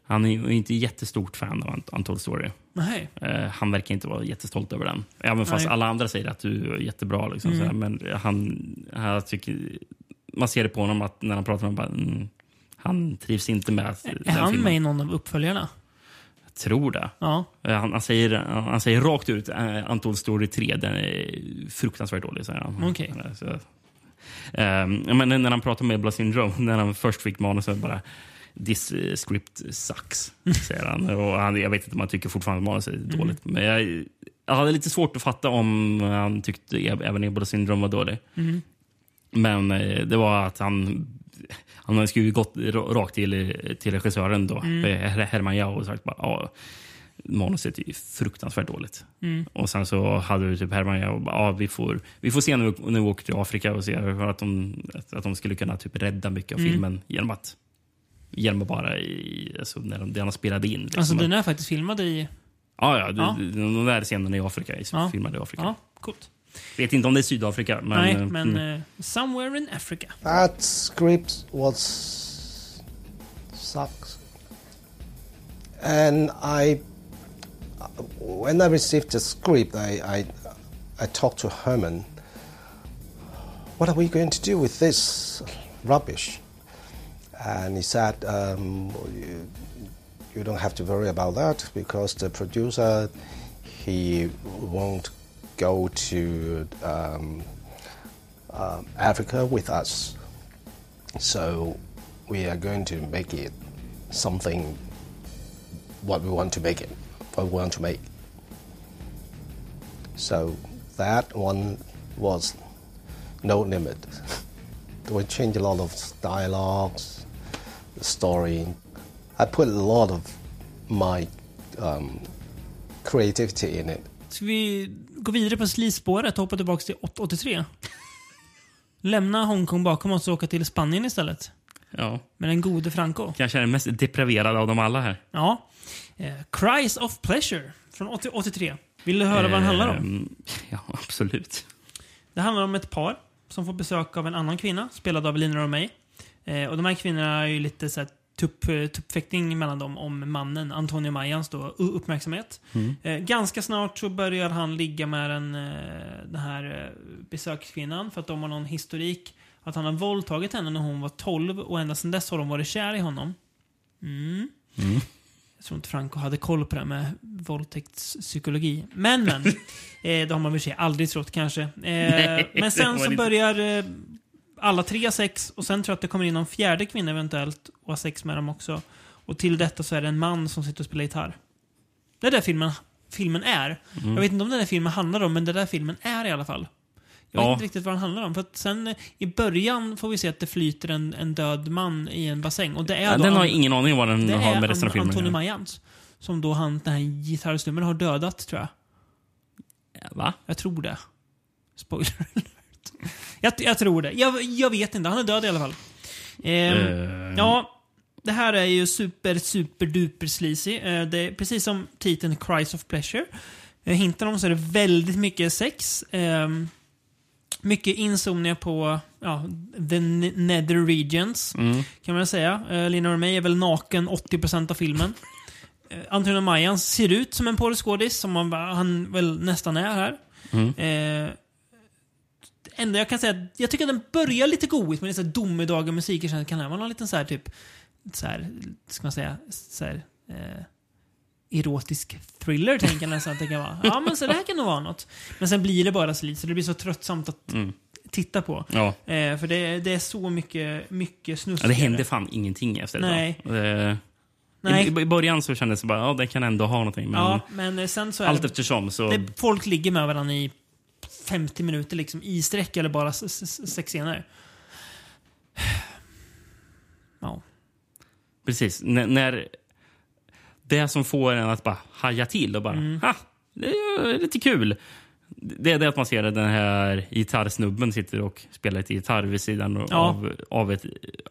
Han är ju inte jättestort fan av Unt- Untold Story. Nej. Eh, han verkar inte vara jättestolt över den. Även fast Nej. Mm. alla andra säger att du är jättebra. Liksom, sådär. Men han, han tycker, man ser det på honom att när han pratar om bara, mm, han trivs inte med att- Är den han filmen. med i någon av uppföljarna? Jag tror det. Ja. Eh, Han, han, säger, han säger rakt ut eh, Anton Story 3, den är fruktansvärt dålig. Säger han. Okej. Eh, Så, Ehm, ja, men när han pratar med Ebla Syndrome, när han först fick manuset, bara This eh, script sucks, säger han. Och han. Jag vet inte om han tycker fortfarande att manuset är dåligt. Men jag, jag hade lite svårt att fatta om han tyckte e- även Ebla Syndrome var dålig. Men eh, det var att han han skulle ju gått ra- rakt till, till regissören då, eh, Her- Herman Yao, och sagt bara ja, manuset är ju fruktansvärt dåligt. Och sen så hade ju typ Herman Yao bara, ja, vi får, vi får se när vi, när vi åker till Afrika och se för att de, att, att de skulle kunna typ rädda mycket av filmen genom att genom att bara i, alltså när de, det han spelade in. Liksom. Alltså den är faktiskt filmad i... ja, ja, Ja. ja. De, de där scenerna i Afrika, i- Ja. filmade i Afrika. Ja, coolt. Vet inte om det är Sydafrika, men... Nej, eh, men mm. eh, Somewhere in Africa. That script was sucks, and I when I received the script, I I, I talked to Herman. What are we going to do with this rubbish? And he said, um, you, you don't have to worry about that because the producer he won't go to um, um, Africa with us. So we are going to make it something what we want to make it, what we want to make. So that one was no limit. we changed a lot of dialogues, the story. I put a lot of my um, creativity in it. Ska vi gå vidare på slispåret och hoppa tillbaka till 8- 83? Lämna Hongkong bakom oss och åka till Spanien istället. Ja. Med den gode Franco. Kanske är den mest depraverade av dem alla här. Ja. Eh, Cries of Pleasure från 80 83. Vill du höra vad den handlar om? Ehm, Ja, absolut. Det handlar om ett par som får besök av en annan kvinna, spelad av Elina och mig. Eh, och de här kvinnorna är ju lite så här tupp, eh, tuppfäktning mellan dem om mannen, Antonio Mayans då, u- uppmärksamhet. Mm. Eh, ganska snart så börjar han ligga med den, eh, den här eh, besökskvinnan för att de har någon historik. Att han har våldtagit henne när hon var 12 och ända sedan dess har de varit kär i honom. Mm. Jag tror inte Franco hade koll på det här med våldtäktspsykologi. Men, men. eh, det har man väl i och för sig aldrig trott kanske. Eh, men det har sen man så inte. börjar eh, alla tre ha sex och sen tror jag att det kommer in någon fjärde kvinna eventuellt och har sex med dem också. Och till detta så är det en man som sitter och spelar gitarr. Mm. Det är där filmen, filmen är. Jag vet inte om den här filmen handlar om, men det är där filmen är i alla fall. Jag vet Ja. inte riktigt vad den handlar om. För att sen eh, i början får vi se att det flyter en, en död man i en bassäng. Och det är Ja, då den har An- jag ingen aning om vad den det har är med resten av An- filmen Anthony att Mayans. Som då han, den här gitarrstummaren har dödat tror jag. göra. Va? Jag tror det. Spoiler alert. Jag, jag tror det. Jag, jag vet inte. Han är död i alla fall. Ehm, Eh, Ja, det här är ju super, super duper sleazy. Eh, Det är precis som titeln Cries of Pleasure eh, hintar om så är det väldigt mycket sex. ehm, Mycket insomningar på ja, the n- nether regions, mm, kan man säga. Eh, Lina Ormey är väl naken 80% av filmen. Eh, Antonio Mayan ser ut som en porrskådis, som han, han väl nästan är här. Eh, det enda jag kan säga, att jag tycker att den börjar lite goigt med lite så här domedagar musik och sen kan det vara någon liten så här typ, så här, ska man säga, så här, eh, erotisk thriller tänker jag nästan att det kan vara. Ja men så det här kan nog vara något. Men sen blir det bara så lite så det blir så tröttsamt att titta på. Ja. Eh, för det, det är så mycket, mycket snusk. Ja, det hände fan ingenting efter det. Nej. va? Eh, Nej. I, I början så kändes det bara, ja, den kan ändå ha någonting. Men Ja, men eh, sen så är allt det, eftersom så... det, folk ligger med varandra i 50 minuter liksom i sträck eller bara s- s- s- sex scener. Ja. Precis. N när det som får en att bara haja till och bara Mm. ha, det är ju lite kul. Det är det att man ser den här gitarrsnubben sitter och spelar lite gitarr vid sidan Ja. av, av, ett,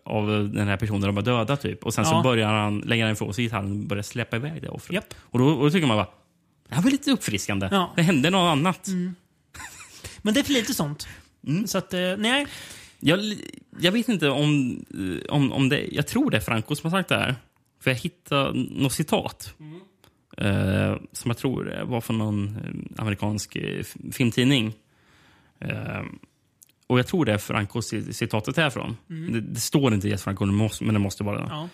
av den här personen de har dödat. Typ. Och sen Ja. så börjar han, lägger han ifrån sig gitarren och börjar släppa iväg det offret. Japp. Och, då, och då tycker man bara, det här var lite uppfriskande. Ja. Det hände något annat. Men det är för lite sånt. Mm. Så att, eh, nej. Jag, jag vet inte om, om, om det... Jag tror det är Franco som har sagt det här. För jag hittade något citat. Eh, som jag tror var från någon eh, amerikansk eh, f- filmtidning. Eh, och jag tror det är Franco ci- citatet härifrån. Det, det står inte Jes Franco, det måste- men det måste vara det. Ja.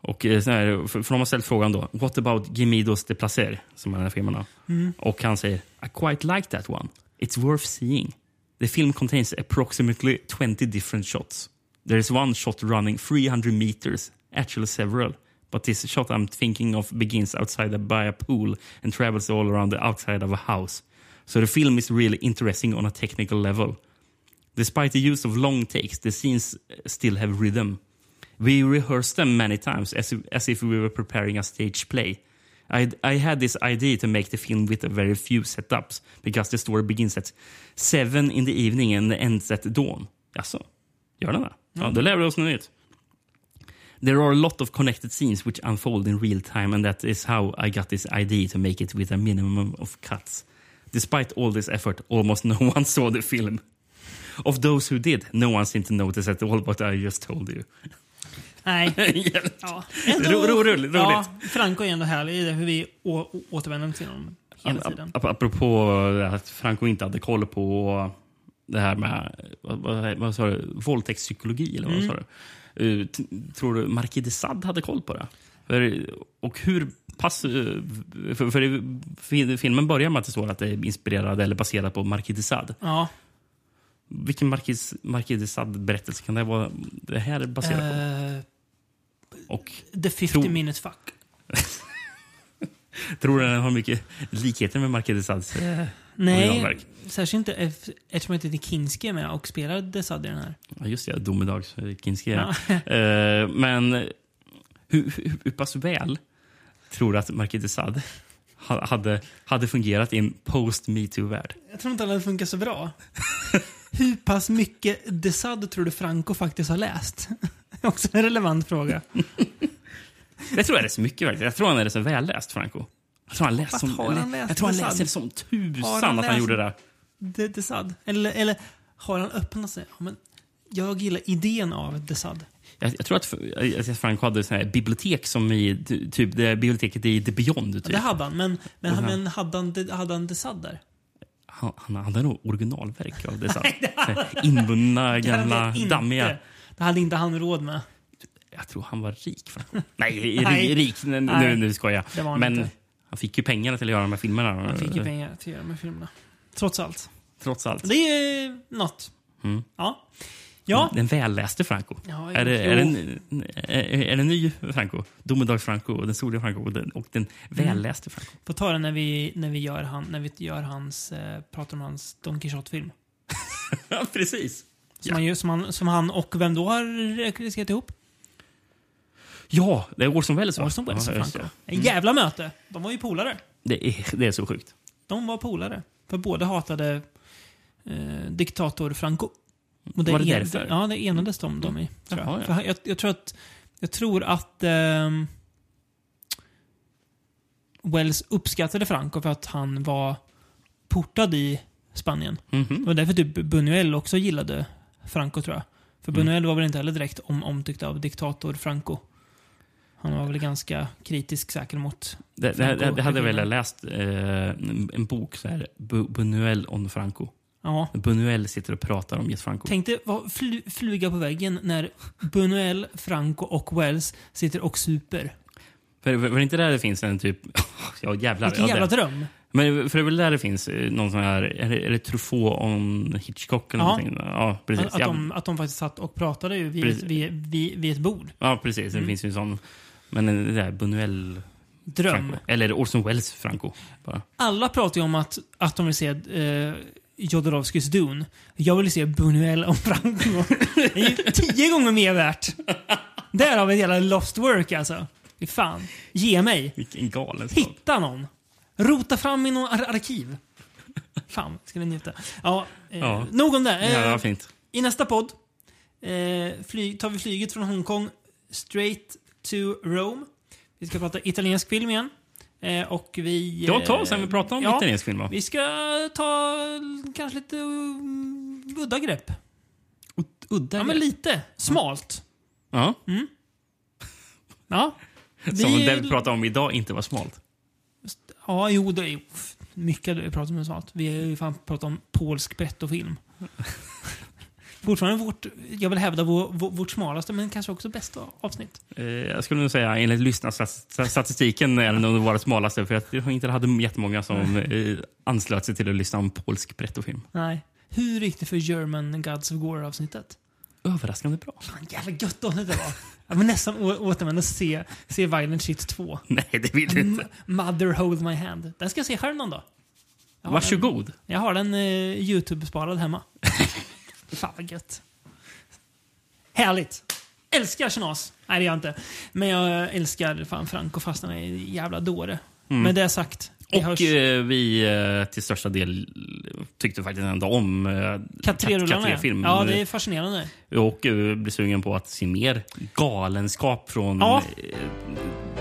Och, eh, så här, för, för de har ställt frågan då. What about Gemidos de Placer? Som är den här filmen. då. Och han säger I quite like that one. It's worth seeing. The film contains approximately 20 different shots. There is one shot running 300 meters, actually several. But this shot I'm thinking of begins outside a, by a pool and travels all around the outside of a house. So the film is really interesting on a technical level. Despite the use of long takes, the scenes eh, still have rhythm. We rehearsed them many times as, as if we were preparing a stage play. I, I had this idea to make the film with very few setups because the story begins at seven in the evening and ends at dawn. Jaså, gör den det? Ja, då lär vi oss något nytt. There are a lot of connected scenes which unfold in real time, and that is how I got this idea to make it with a minimum of cuts. Despite all this effort, almost no one saw the film. Of those who did, no one seemed to notice at all what I just told you. Nej. Jävligt. Ja. Ro- ro- roligt, Ja, roligt. Franco är ändå härlig i det, hur vi å- å- återvänder till honom hela Ap- tiden. ap- Apropå att Franco inte hade koll på det här med vad, vad, vad sa du, våldtäktspsykologi. Eller vad sa du? Eh, t- tror du Marquis de Sade hade koll på det? För, och hur pass... eh, För, för i fi- filmen börjar med att det står att det är inspirerad eller baserat på Marquis de Sade. Ja. Vilken Marquis, Marquis de Sade-berättelse kan det vara det här är baserat på? Eh, Och the 50 Tror- minutes fuck. tror du den har mycket likheter med Marquis de Sades? eh, Nej, ramverk. särskilt inte ef- eftersom jag inte tycker Kinski är med och spelar Desad i den här. Ja, just det. Domedagskinski. Ja. Eh, men hur, hur, hur pass väl tror du att Marquis de Sade ha- hade, hade fungerat i en post-metoo-värld? Jag tror inte att den funkar så bra. Hur pass mycket Desad tror du Franco faktiskt har läst? Också en relevant fråga. Jag tror jag är det så mycket. Verkligen. Jag tror han är det så välläst, Franco. Jag tror han läste som, har han läst jag tror han de Sade? läser som Har tusan han att han läst- gjorde det. där. De- Desad. Eller, eller har han öppnat sig? Ja, men jag gillar idén av Desad. Jag, jag tror att, att Franco hade sån här bibliotek som i ty- typ, det biblioteket i The Beyond. Typ. Ja, det hade han, men, men, han, Och han- men hade han, de- hade han Desad där? han, han hade nog originalverk av det. Så här, så här inbundna, gamla, hade inte- dammiga. Det hade inte han råd med. Jag tror han var rik. Franco. Nej, Nej. Nej. rik. Nu, Nej. nu, nu skojar jag. Det var han Men inte. han fick ju pengarna till att göra de här filmerna. Han fick ju pengar till att göra med filmerna. Trots allt. Trots allt. Det är ju något. Mm. Ja. Ja. Den välläste Franco. Ja, är, det, jo. är, det en, är, är det en ny Franco? Domedags-Franco, den soliga Franco och den, och den Mm. välläste Franco. Får ta det när vi, när vi, gör, han, när vi gör hans, eh, pratar om hans Don Quijote-film. Ja, Precis. Som, han, ju- som, han, som han och vem då har regisserat ihop? Ja, det är Orson Welles va? Orson Welles ja, och just Franco. det. Mm. Ett jävla möte. De var ju polare. Det är, det är så sjukt. De var polare. För båda hatade eh, diktator Franco. Och Var det en- därför? Mm. Ja, det enades de, de i. Tror jag. Jaha, ja. För han- jag, jag tror att, jag tror att ehm, Wells uppskattade Franco för att han var portad i Spanien. Mhm. Det var därför typ Buñuel också gillade Franco tror jag. För Mm. Buñuel var väl inte heller direkt om, omtyckt av diktator Franco. Han var väl ganska kritisk säkert mot... Det, det, det, det hade jag Franco. väl läst eh, en en bok, så här, Bu- Buñuel on Franco. Ja. Buñuel sitter och pratar om Jes Franco. Tänk dig vad fly, flyga på väggen när Buñuel, Franco och Wells sitter och super. För, för, för inte där det finns en typ... Ja, jävlar. Vilken ja, jävla det. dröm! Men för det är väl där det finns eh, någon sån här... Är det, är det Truffaut on Hitchcock? Eller Ja. någonting? Ja, precis. Att, att, ja, de, att de faktiskt satt och pratade ju vid, Precis. vid, vid, vid ett bord. ja, precis. Mm. Det finns ju en sån... Men det där Buñuel... Dröm. Franco. Eller är det Orson Welles Franco? Bara. Alla pratar ju om att, att de vill se eh, Jodorowskys Dune. Jag vill se Buñuel och Franco. Det är ju tio gånger mer värt. Där har vi hela lost work alltså. Fy fan. Ge mig. Vilken galenskap. Hitta någon. Rota fram i någon ar- arkiv. Fan, ska ni njuta. Ja, eh, Ja. Nog om det. Eh, Ja, vad fint. I nästa podd eh, fly, tar vi flyget från Hongkong straight to Rome. Vi ska prata italiensk film igen. Eh, och vi... eh, Det var ett tag sedan vi pratade om ja, italiensk film, va? Vi ska ta eh, kanske lite mm, udda grepp. Udda Ja, men lite. Smalt. ja. Ja. Som Mm. Vi- det vi pratade om idag inte var smalt. Ja, jo, det är pff, mycket du pratar om sånt. Vi har ju fan pratat om polsk bettofilm. Fortfarande vårt, jag vill hävda vår, vår, vårt smalaste men kanske också bästa avsnitt. Eh, Jag skulle nog säga, enligt lyssnarstatistiken, är det nog våra smalaste. För jag tror inte det hade jättemånga som eh, anslöt sig till att lyssna om polsk pretofilm. Nej. Hur gick det för German Gods of Gore avsnittet? Överraskande bra. Fan, jävla gött avsnitt det var. Jag vill nästan å- återvända och se, se Violent Shit 2. Nej, det vill du M- inte. Mother Hold My Hand. Den ska jag se själv någon dag. Jag har den- Varsågod. Jag har den eh, YouTube-sparad hemma. Fan vad gött. Härligt! Älskar Chenas. Nej, det gör jag inte. Men jag älskar fan Franco fast han är en jävla dåre. Med det sagt. vi hörs. Mm. Och eh, vi eh, till största del eh, tyckte faktiskt ändå om eh, Kat 3-rullarna. Kat 3-film. Ja, det är fascinerande. Och eh, blir sugen på att se mer galenskap från Ja. eh,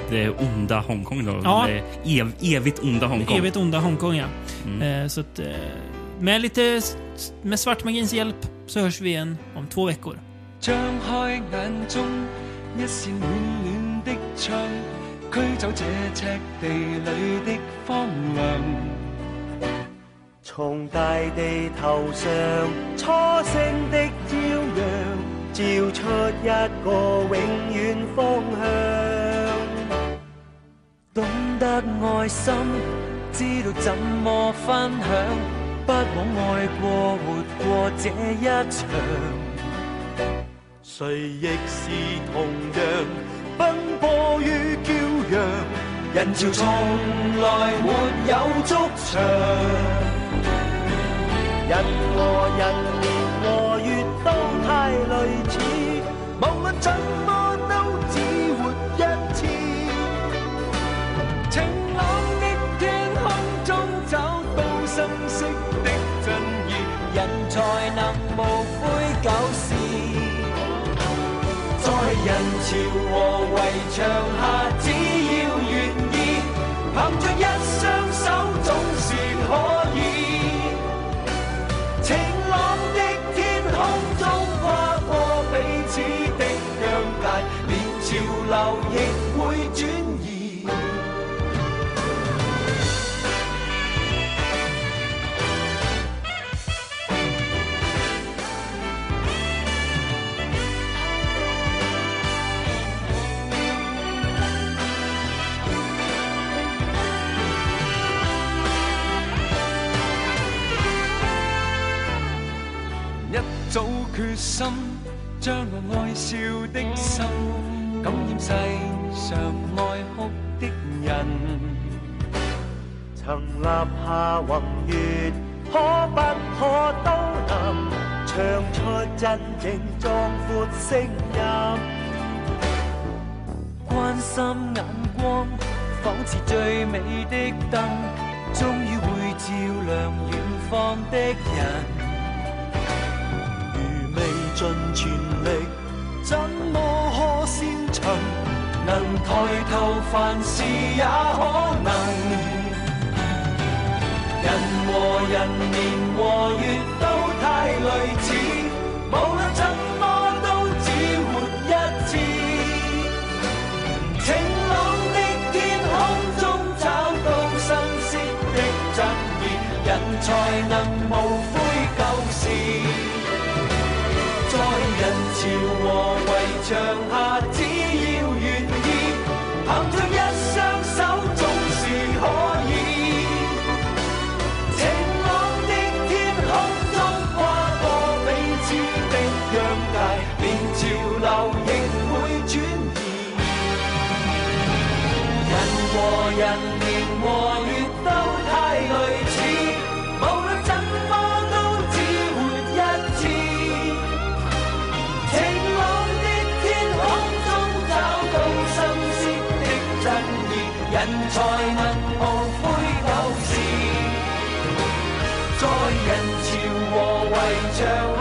det onda Hongkong. Då. Ja. Det ev evigt onda Hongkong. Evigt onda Hongkong, ja. Mm. Eh, så att, eh, med lite s- s- med svartmagins hjälp så hörs vi igen om två veckor. 張開眼中，一扇暖暖的窗，驅走這赤地裏的荒涼。从大地头上初升的朝阳，照出一个永远方向。懂得愛心，知道怎麼分享，不枉愛過活過這一場。谁亦是同样奔波于骄阳，人潮从来没有足长。人和人年和月都太類似，無論怎麼都只活一次。晴朗的天空中找到深色的真意，人才能無悔舊事。在人潮和圍牆下，只要願意，憑着一雙手總是可以。晴朗的天空中跨過彼此的疆界，連潮流亦會轉移。一早決心，將我愛笑的心，感染世上愛哭的人。曾立下宏願，可不可都能唱出真正壯闊聲音？關心眼光，仿似最美的燈，終於會照亮遠方的人。如未盡全力，怎麼可先尋？能抬頭，凡事也可能。人和人年和月都太類似，無論怎麼都只活一次。晴朗的天空中找到新鮮的爭議，人才能無悔舊事。在人潮和圍牆下，只要願意，憑着一雙手，總是可以。晴朗的天空中跨過彼此的疆界，連潮流亦會轉移。人和人年和月都太類似，無論怎麼都只活一次。晴朗的天空中找到新鮮的真意，人才能無悔舊事。在人潮和圍牆。